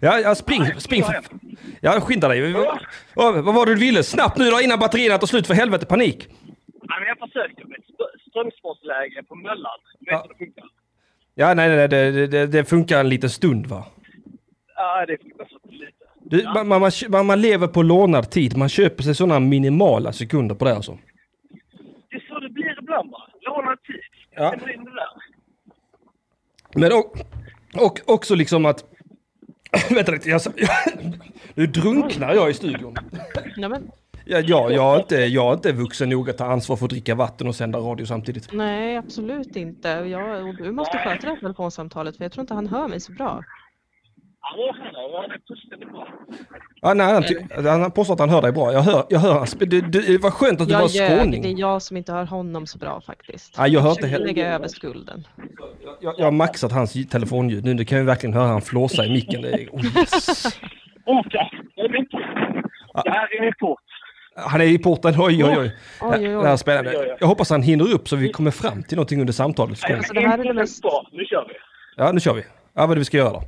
ja, ja spring, spring. för- Ja, skynda dig. Vad vad var det du ville? Snabbt nu då innan batterierna tar slut för helvete, panik. Ja, men jag försökte med ett strö- strömsportläge på Möllan. Du Ja. vet hur det funkar? Ja, nej, nej, nej, det, det, det funkar en liten stund va? Ja, det är fruktansvärt lite. Du, man, man, man, man lever på lånad tid. Man köper sig sådana minimala sekunder på det alltså. Det är så det blir ibland bara. Låna tid. Ja. Jag känner in det där. Men och, och också liksom att... [laughs] Vänta lite, jag, sa- [laughs] nu drunknar jag i studion. Nej, men, Ja, ja, jag, är inte, jag är inte vuxen nog att ta ansvar för att dricka vatten och sända radio samtidigt. nej, absolut inte. Jag, och du måste sköta det här telefonsamtalet för jag tror inte han hör mig så bra. Ja, det är bra. Ja, det är fullständigt bra. Ja, nej, han, ty- han påstår att han hör dig bra. Jag hör, jag hör hans- det, det, det var skönt att du var Jag ljög, det skåning. är jag som inte hör honom så bra faktiskt. Ja, jag hör inte Jag heller. lägger över skulden. Jag, jag har maxat hans ljud- telefonljud nu. Nu kan vi verkligen höra han flåsa i micken. Det [laughs] är, oh, yes. Åka! Det är mycket. Det här är min port. Han är i porten. Oj, oj, oj. Oj, oj, oj. Det här är spännande. Jag hoppas han hinner upp så vi kommer fram till någonting under samtalet. Alltså, det här är det mest- bra. Nu kör vi. Ja, nu kör vi. Ja, vad är det vi ska göra då?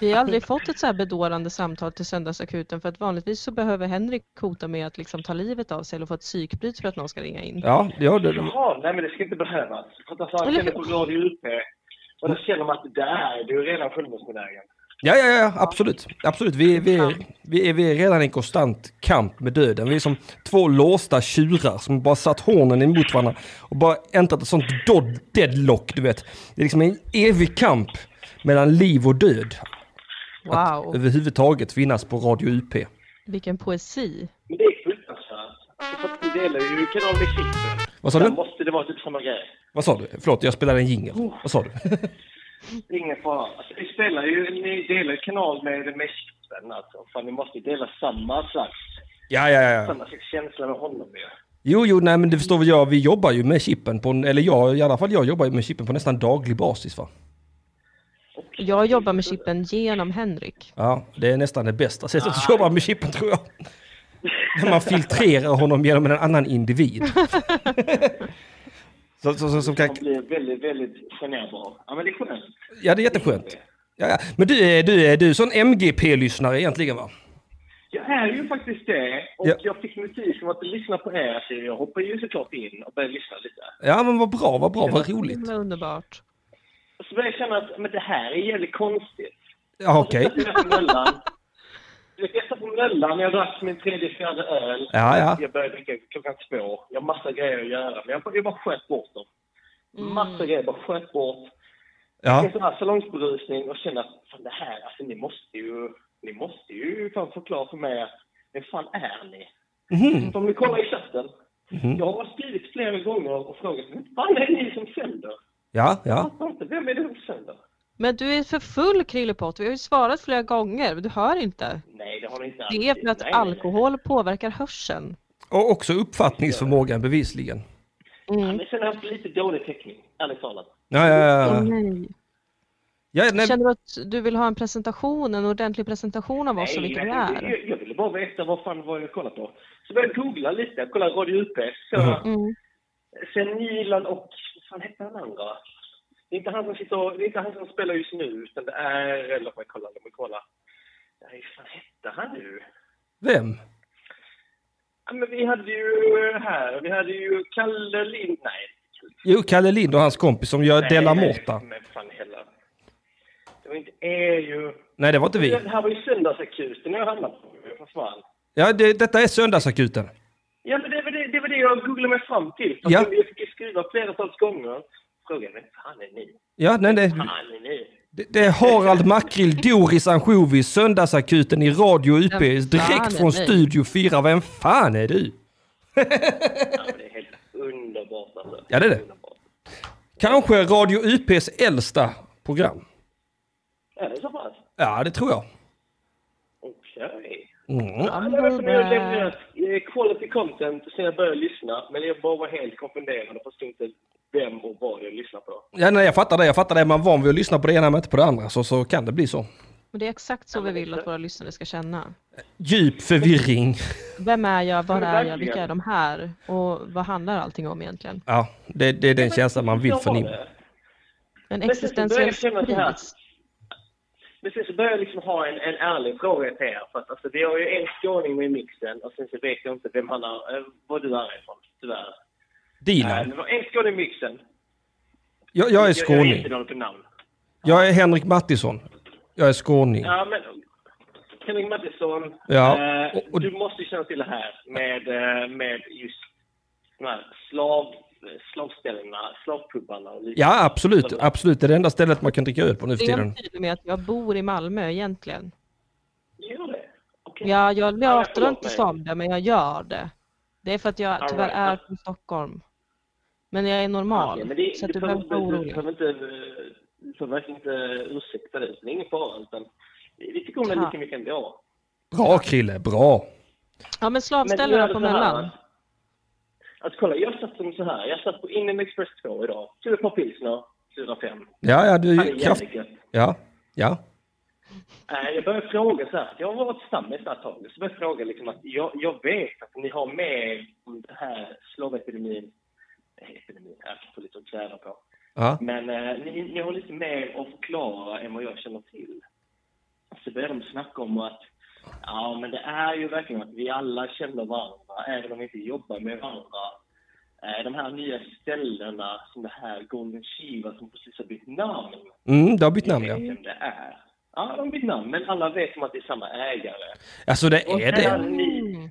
Vi har aldrig fått ett så här bedårande samtal till söndagsakuten för att vanligtvis så behöver Henrik hota med att liksom ta livet av sig eller få ett psykbryt för att någon ska ringa in. Ja, ja det, Jaha, nej men det ska inte behövas. För att han Eller känner hur? på Radio UP. Och då känner man att där, du är redan självmordsbenägen. Ja, ja, ja, absolut. absolut. Vi, vi, är, vi, är, vi är redan i en konstant kamp med döden. Vi är som två låsta tjurar som bara satt hornen emot varandra och bara äntrat ett sånt dod- deadlock, du vet. Det är liksom en evig kamp mellan liv och död. Wow, Överhuvudtaget finnas på Radio UP. vilken poesi. Men det är fruktansvärt. För att vi delar ju kanal med Kippen. Vad sa Där du? måste det vara typ samma grej. Vad sa du? Förlåt, jag spelade en jingel. Vad sa du? [laughs] Det är Ingen fara. Alltså, vi spelar ju, ni delar ju kanal med, med Kippen alltså. För ni måste ju dela samma slags, Ja, ja, ja. samma slags känsla med honom ju. Jo, jo, nej men det förstår väl jag. Vi jobbar ju med chippen på, en- eller jag, i alla fall jag jobbar ju med chippen på nästan daglig basis va. Jag jobbar med chippen genom Henrik. Ja, det är nästan det bästa sättet att jobba med chippen tror jag. När man filtrerar honom genom en annan individ. så, så, så, som kan, Han blir väldigt, väldigt generbar. Ja men det är skönt. ja, det är jätteskönt. Ja, ja. Men du är, du är, du är sån MGP-lyssnare egentligen va? Jag är ju faktiskt det. Och Ja. jag fick notis om att lyssna på er, så jag hoppar ju såklart in och börjar lyssna lite. Ja, men vad bra, vad bra, vad roligt. Himla underbart. Och så började jag känna att men det här är jävligt konstigt. Ja, okej. Jag satt på Möllan. Jag satt på Möllan, jag drack min tredje, fjärde öl. Ja, ja. Jag började dricka klockan två. Jag har massa grejer att göra, men jag bara, jag bara sköt bort dem. Massa grejer, bara sköt bort. Ja. En sån här salongsberusning och kände att fan det här, alltså ni måste ju, ni måste ju fan förklara för mig att vem fan är ni? För Om ni kollar i chatten. Jag har skrivit flera gånger och frågat vem fan är ni som sänder? Ja, Jag ja. fattar inte, vem är det som sänder? Men du är för full Krillepott, vi har ju svarat flera gånger, men du hör inte. Nej, det har ni inte alls. Det är för att Nej, nej, nej. alkohol påverkar hörseln. Och också uppfattningsförmågan bevisligen. Men sen har jag haft lite dålig täckning, ärligt talat. Ja, ja, ja. ja. Nej. ja Ah. nej, Känner du att du vill ha en presentation, en ordentlig presentation av oss och vilka vi jag, är? jag, jag ville bara veta vad fan var jag kollat Mm. på. Så började jag googla lite, kolla Radio UP. Så, Sen Nilan och fan hette den andra? Det är inte han som sitter och, det är inte han som spelar just nu, utan det är, låt mig kolla, låt mig kolla. Nej, hur fan hette han nu? Vem? Ja, men vi hade ju eh, här, vi hade ju Kalle Lind, nej. Jo, Kalle Lind och hans kompis som gör nej, Della nej, Morta. Men fan heller. Det var inte, är ju... Nej, det var inte vi. Det här var ju söndagsakuten jag hamnade på, för fan. Ja, det, detta är Söndagsakuten. Ja, men det var det, det, var det jag googlade mig fram till. Ja. Ja. Jag fick ju skriva flertals gånger. Frågan vem fan är ni? Ja, nej, det, Fan är ni? det, det är Harald Makrill, Doris Ansjovis, Söndagsakuten i Radio UP, fan direkt är från ni? Studio 4. Vem fan är du? Ja, men det är helt underbart alltså. Ja, det är det. Underbart. Kanske Radio UPs äldsta program. Är det Äh, så pass? Ja, det tror jag. Okej. Mm. Ja, det var som jag levererat eh, quality content sen jag började lyssna. Men jag bara var helt konfunderad och förstod inte vem och vad jag lyssnade på. Ja, nej, jag fattar det. Jag fattar det. Man är van vid att lyssna på det ena men inte på det andra, så, så kan det bli så. Och det är exakt så vi vill att våra lyssnare ska känna. Djup förvirring. Vem är jag, var Men är jag, verkligen. vilka är de här och vad handlar allting om egentligen? Ja, det, det är den känslan man vill Jag var förnimma. det. En Men sen så existentiell började jag känna så här. kris. Men sen så började jag liksom ha en, en ärlig fråga till er. För att alltså, vi har ju en skåning med i mixen och sen så vet jag inte vem han är, eh, var du är ifrån, tyvärr. Eh, Dilan, Det var en skåning i mixen. jag, jag är Jag, jag är skåning. inte någon på namn. Jag är Henrik Mattisson. Jag är skåning. Ja, men Henrik Mattisson, Ja, eh, och- och- du måste ju känna till det här med, eh, med just de här slav, slavställena, slavpubbarna och liknande. Ja, absolut. Absolut. Det är det enda stället man kan dricka öl på nu för Det är jag tiden. tydlig med att jag bor i Malmö egentligen. Gör det? Okej. Ja, jag Ja, låter förlåt inte mig. som det, men jag gör det. Det är för att jag All tyvärr right. är från Stockholm. Men jag är normal, Okej, men det, så att du du behöver behöver inte vara du orolig. behöver inte, eh, du behöver verkligen inte ursäkta dig. Det är ingen fara. Utan vi tycker om det Ja. lika mycket ändå. jag. Bra Krille, bra. Ja, men Men nu är slavställena det på så här mellan. att- Att kolla, jag satt som så här. Jag satt på Indian Express 2 idag. Tog ett par pilsner, 4-5. Ja, ja, du Hade är kraft... jävligt gött. Ja, ja. Nej, jag började fråga så här. Jag har varit tillsammans ett tag. Så började jag fråga liksom att jag, jag vet att ni har med om den här slavepidemin. eh, Epidemin, jag får lite att kläda på. ja. Men eh, ni, ni har lite mer att förklara än vad jag känner till. Så började de snacka om att ja, men det är ju verkligen att vi alla känner varandra, även om vi inte jobbar med varandra. Eh, de här nya ställena, som det här Golden Shiva som precis har bytt namn Mm, det har bytt namn vet ja. vem det är. Ja, de har bytt namn, men alla vet om att det är samma ägare. Alltså det Och är sen det. hade Mm. ni-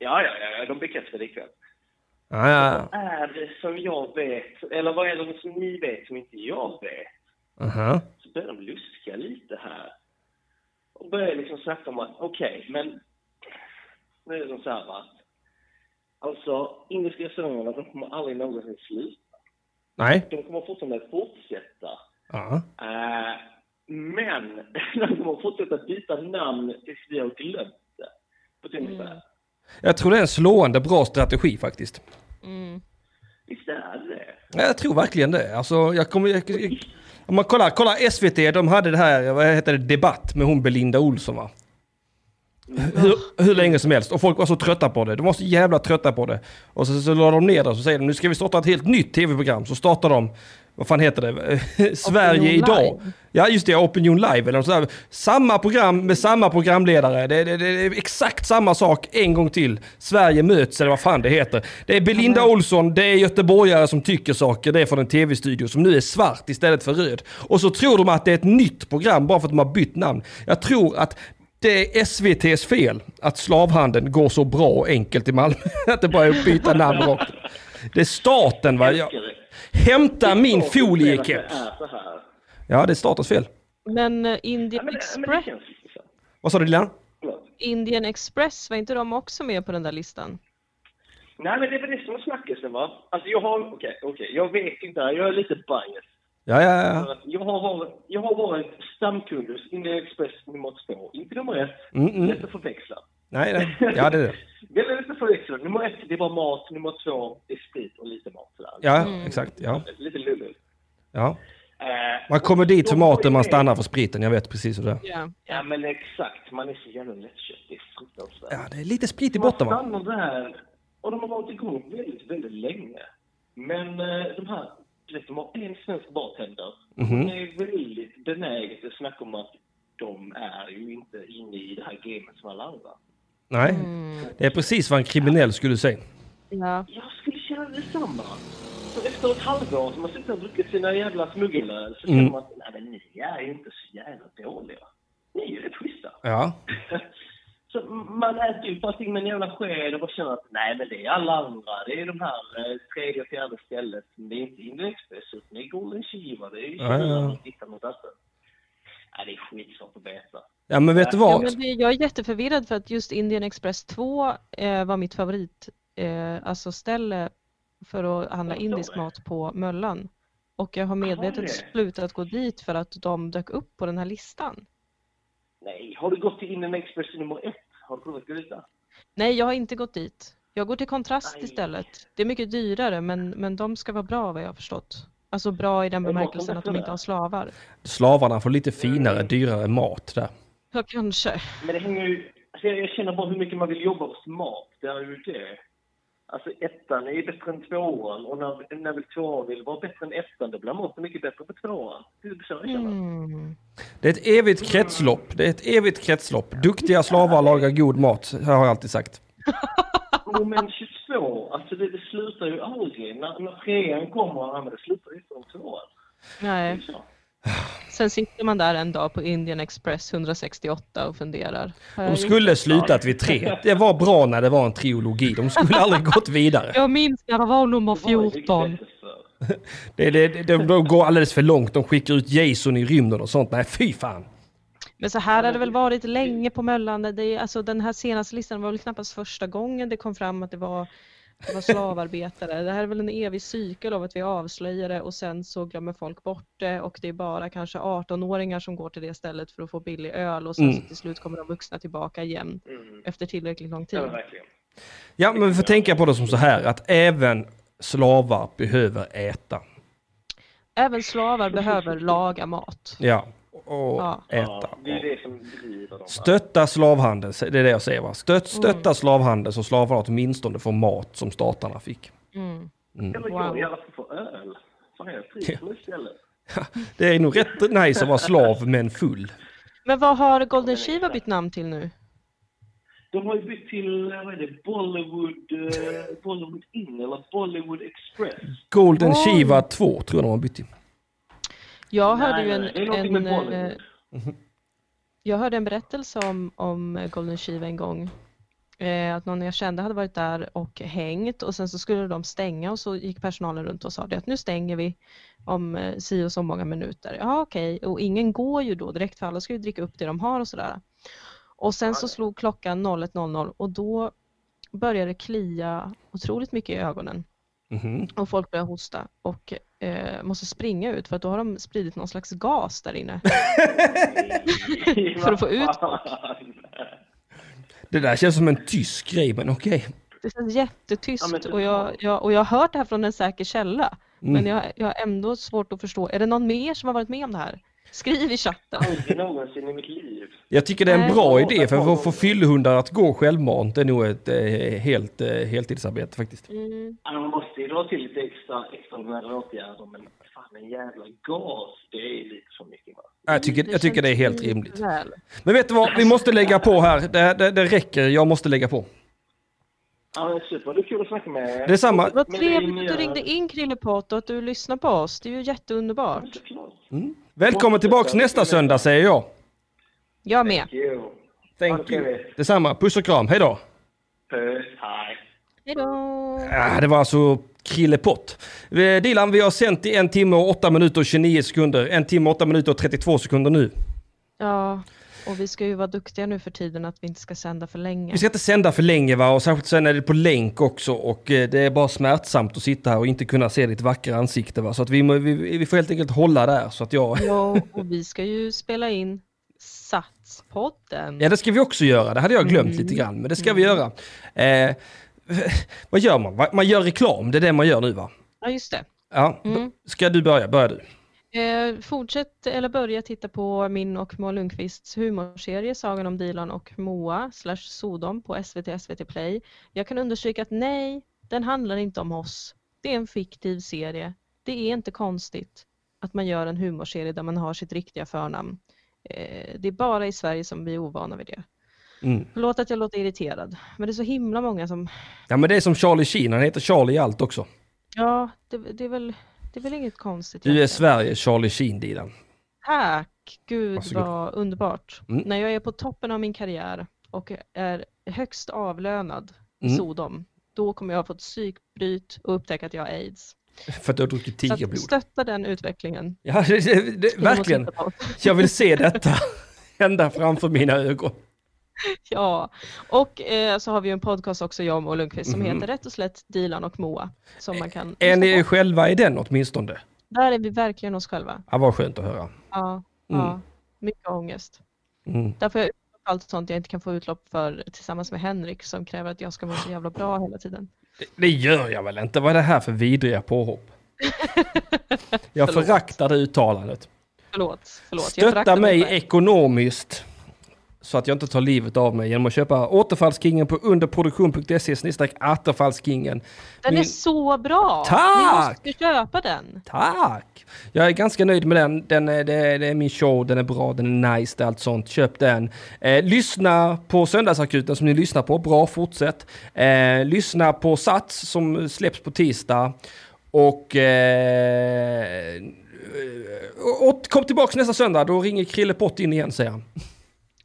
Ja, ja, ja, ja, de bekräftade det ikväll. Ja, ja. Är det som jag vet, eller vad är det som ni vet som inte jag vet? Aha. Så började de luska lite här. Och började liksom snacka om att, okej, men... Nu är det som så här, va? Alltså, indiska restaurangerna, de kommer aldrig någonsin sluta. Nej. De kommer fortfarande fortsätta. Ja. Eh, men [laughs] de kommer fortsätta byta namn tills vi har glömt det. På ett Mm. ungefär. Jag tror det är en slående bra strategi faktiskt. Visst är det Ja, Jag tror verkligen det. Alltså, jag kommer, jag, jag, om man kollar, kollar SVT, de hade det här, vad heter det, debatt med hon Belinda Olsson va? Hur, hur länge som helst. Och folk var så trötta på det. De var så jävla trötta på det. Och så, så la de ner det och så säger de, nu ska vi starta ett helt nytt tv-program. Så startar de, vad fan heter det, [laughs] Sverige Opinion idag. Live. Ja just det, Opinion Live eller något sådär. Samma program med samma programledare. Det, det, det är exakt samma sak en gång till. Sverige möts eller vad fan det heter. Det är Belinda Olsson, det är göteborgare som tycker saker. Det är från en tv-studio som nu är svart istället för röd. Och så tror de att det är ett nytt program bara för att de har bytt namn. Jag tror att det är SVTs fel att slavhandeln går så bra och enkelt i Malmö. [laughs] Att det bara är att byta namn rakt. Det är staten va? Jag, hämta min foliekeps. Det är så här. Ja, det är statens fel. Men eh, Indian, Men det, men det Express, känns så. Vad sa du Dilan? Förlåt. Indian Express, var inte de också med på den där listan? Nej, men det är väl det som är snackisen, va? Alltså, jag har... Okej, okej, jag vet inte. Jag är lite biased. Ja, ja, ja. För att Jag har varit, jag har varit stamkund hos Indian Express nummer två. Inte nummer ett. Mm, mm. Lätt att förväxla. Nej, nej. Ja, det är det. Det är lätt att förväxla. Nummer ett, det var mat. Nummer två, det är sprit och lite mat. Sådär. Ja, Mm. exakt. Ja, Lite lullull. ja. Eh, Man kommer dit för maten, man stannar för spriten. Jag vet precis hur det är. Ja. Ja men exakt, man är så jävla lättköpt. Det är fruktansvärt. Ja, det är lite sprit i man botten va? stannar där och de har varit igång väldigt, väldigt länge. Men eh, de här liksom har en svensk bartender. Mhm. Hon är väldigt benägen att snacka om att de är ju inte inne i det här gamet som alla andra. Nej, Mm. det är precis vad en kriminell skulle säga. Ja. Jag skulle känna detsamma. Så efter ett halvår som man sitter och druckit sina jävla smuggelöl så känner Mm. man att nej, men ni är ju inte så jävla dåliga. Ni är ju rätt schyssta. Ja. Så man äter upp allting med en jävla sked och bara känner att nej men det är alla andra. Det är de här eh, tredje och fjärde stället. Det är inte Indian Express utan det är Golden Chiva. Det är ju Ja, ja, ja. Kina man tittar mot detta. Nej det är skitsvårt att veta. Ja men vet du Ja, vad? men det, jag är jätteförvirrad för att just Indian Express 2 eh, var mitt favorit, eh, alltså ställe för att handla Jag förstår indisk det. mat på Möllan. Och jag har medvetet det? slutat gå dit för att de dök upp på den här listan. Nej, har du gått till Indian Express nummer ett? Har du provat att gå dit där? Nej, jag har inte gått dit. Jag går till Kontrast Nej. istället. Det är mycket dyrare men, men de ska vara bra vad jag har förstått. Alltså bra i den Men maten bemärkelsen att de bättre inte där? har slavar. Slavarna får lite finare, Mm. dyrare mat där. Ja, kanske. Men det hänger ju... Alltså jag, jag känner bara hur mycket man vill jobba hos mat. Det är ju det. Alltså ettan är ju bättre än tvåan och när, när väl tvåan vill vara bättre än ettan då blir maten mycket bättre på tvåan. Det är så jag känner. Det är ett evigt kretslopp. Det är ett evigt kretslopp. Duktiga slavar lagar god mat, har jag alltid sagt. Moment 22, alltså det, det slutar ju aldrig. När, när trean kommer, ja, men det slutar ju inte om tvåan. Det är Nej. så. Sen sitter man där en dag på Indian Express 168 och funderar. Har De jag skulle slutat vid tre. Det var bra när det var en trilogi. De skulle aldrig gått vidare. Jag minns när det var nummer Det var ju 14. riktigt för. Det, det, det, de, de går alldeles för långt. De skickar ut Jason i rymden och sånt. Nej, fy fan. Men så här har det väl varit länge på Möllan. Det är, alltså, den här senaste listan var väl knappast första gången det kom fram att det var, det var slavarbetare. Det här är väl en evig cykel av att vi avslöjar det och sen så glömmer folk bort det och det är bara kanske 18-åringar som går till det stället för att få billig öl och sen Mm. så till slut kommer de vuxna tillbaka igen Mm. efter tillräckligt lång tid. Ja, verkligen. Ja, men vi får tänka på det som så här att även slavar behöver äta. Även [laughs] slavar behöver laga mat. Ja, och Ja. äta. Ja, det är ju det som driver dem. Stötta slavhandeln, det är det jag säger va? Stöt, stötta slavhandeln så slavarna åtminstone får mat som statarna fick. Mm. Eller Wow. gå i alla fall för öl. Fan, jag trivs med istället. Det är nog rätt nice att vara slav men full. Men vad har Golden Shiva bytt namn till nu? De har ju bytt till, eh, vad är det, Bollywood, eh, Bollywood Inn eller Bollywood Express. Golden Oj. Shiva 2 tror jag de har bytt till. Jag hörde Nej, ju nej, det är en, någonting en, med Bollywood. eh, jag hörde en berättelse om, om Golden Shiva en gång. Eh, att någon jag kände hade varit där och hängt och sen så skulle de stänga och så gick personalen runt och sa det att nu stänger vi om eh, si och så många minuter. Ja okej, och ingen går ju då direkt för alla ska ju dricka upp det de har och sådär. Och sen så slog klockan 01.00 och då började det klia otroligt mycket i ögonen. Mhm. Och folk börjar hosta och eh, måste springa ut för att då har de spridit någon slags gas där inne. eh, För att få ut Det där känns som en tysk grej men okej. Det känns jättetyskt Ja, men- och, jag, jag, och jag har hört det här från en säker källa. Mm. Men jag, jag har ändå svårt att förstå. Är det någon mer som har varit med om det här? Skriv i chatten. [laughs] Aldrig någonsin i mitt liv. Jag tycker det är en Nej. bra idé för att få fyllehundar att gå självmant det är nog ett eh, helt, eh, heltidsarbete faktiskt. Ja, Man måste ju dra till lite extra extraordinära åtgärder, men fan en jävla gas, det är lite för mycket va. Jag tycker, jag tycker det är helt känns rimligt. väl. Men vet du vad, vi måste lägga på här. Det, det, det räcker, jag måste lägga på. Ja, men super, det är kul att snacka med er. Detsamma. Vad Men det är trevligt att mer- du ringde in Krillepott och att du lyssnar på oss. Det är ju jätteunderbart. Såklart. Välkommen tillbaks nästa söndag säger jag. Jag med. Jo. Thank you. Detsamma, puss och kram, hej då. Puss, hej. Hej då! Ah, det var alltså Krillepott. Eh, Dilan, vi har sänt i en timme och 8 minuter och 29 sekunder. En timme, 8 minuter och 32 sekunder nu. Ja, och vi ska ju vara duktiga nu för tiden att vi inte ska sända för länge. Vi ska inte sända för länge va, och särskilt sen är det på länk också och eh, det är bara smärtsamt att sitta här och inte kunna se ditt vackra ansikte va. Så att vi, må- vi, vi får helt enkelt hålla där så att jag... [laughs] Ja, och vi ska ju spela in Satspodden. Ja, det ska vi också göra. Det hade jag glömt lite grann, men det ska vi Mm. göra. Eh, [laughs] vad gör man? Va? Man gör reklam, det är det man gör nu va? Ja, just det. Ja. Mm. Ska du börja? Börja du. Eh, fortsätt eller börja titta på min och Moa Lundqvists humorserie Sagan om Dilan och Moa slash Sodom på SVT SVT Play. Jag kan understryka att nej, den handlar inte om oss. Det är en fiktiv serie. Det är inte konstigt att man gör en humorserie där man har sitt riktiga förnamn. Eh, det är bara i Sverige som vi är ovana vid det. Mm. Förlåt att jag låter irriterad, men det är så himla många som... Ja men det är som Charlie Sheen, han heter Charlie i allt också. Ja, det, det, är, väl, det är väl inget konstigt. Du är egentligen. Sveriges Charlie Sheen, Dilan. Tack! Gud Varsågod. vad underbart. Mm. När jag är på toppen av min karriär och är högst avlönad i Mm. Sodom, då kommer jag ha fått psykbryt och upptäcka att jag har aids. För att du har druckit Så att tigerblod. stötta den utvecklingen. Ja, [laughs] det, det, det, Skriv och verkligen. titta på. Jag vill se detta hända framför mina ögon. [laughs] Ja, och eh, så har vi ju en podcast också, jag och Moa Lundqvist, som Mhm. Eh, heter rätt och slätt Dilan och Moa. Som man kan Är lyssna ni på. själva i den åtminstone? Där är vi verkligen oss själva. Ja, vad skönt att höra. Ja, ja. mycket ångest. Mm. Där får jag utlopp för allt sånt jag inte kan få utlopp för tillsammans med Henrik som kräver att jag ska må så jävla bra hela tiden. Det, det gör jag väl inte? Vad är det här för vidriga påhopp? Jag Förlåt. föraktar det uttalandet. Förlåt, förlåt. Jag Stötta föraktar mig själv. ekonomiskt så att jag inte tar livet av mig genom att köpa Återfallskingen på underproduktion.se E snedstreck Återfallskingen. Den är Min- så bra! Tack! Ni måste köpa den. Tack! Jag är ganska nöjd med den. den är, det, är, det är min show, den är bra, den är nice, det är allt sånt. Köp den. Eh, lyssna på Söndagsakuten som ni lyssnar på. Bra, fortsätt. Eh, lyssna på Sats som släpps på tisdag. Och... Eh, och och kom tillbaks nästa söndag, då ringer Krille Pott in igen säger han.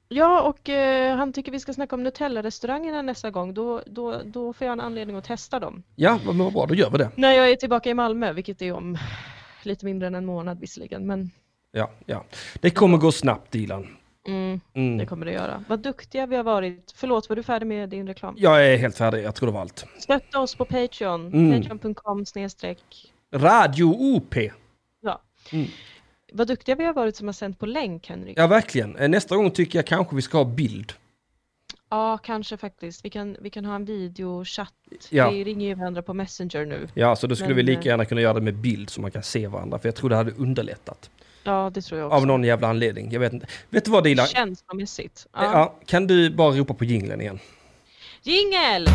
Ja, och eh, han tycker vi ska snacka om Nutella-restaurangerna nästa gång. Då, då, då får jag en anledning att testa dem. Ja, men vad bra, då gör vi det. När jag är tillbaka i Malmö, vilket är om lite mindre än en månad visserligen, men Ja, ja. Det kommer gå snabbt, Dilan. mm, det Mm. kommer det göra. Vad duktiga vi har varit. Förlåt, var du färdig med din reklam? Jag är helt färdig, jag tror det var allt. Stötta oss på Patreon, Mm. patreon.com snedstreck. Radio OP. Ja. Mm. Vad duktiga vi har varit som har sänt på länk, Henrik. Ja, verkligen. Eh, Nästa gång tycker jag kanske vi ska ha bild. Ja, kanske faktiskt. Vi kan, vi kan ha en videochatt. Ja. Vi ringer ju varandra på Messenger nu. Ja, så då skulle Men, vi lika eh, gärna kunna göra det med bild så man kan se varandra. För jag tror det hade underlättat. Ja, det tror jag Av också. någon jävla anledning. Jag vet inte. Vet du vad Dilan? Känslomässigt. Ja. Ja, kan du bara ropa på jinglen igen? Jingel!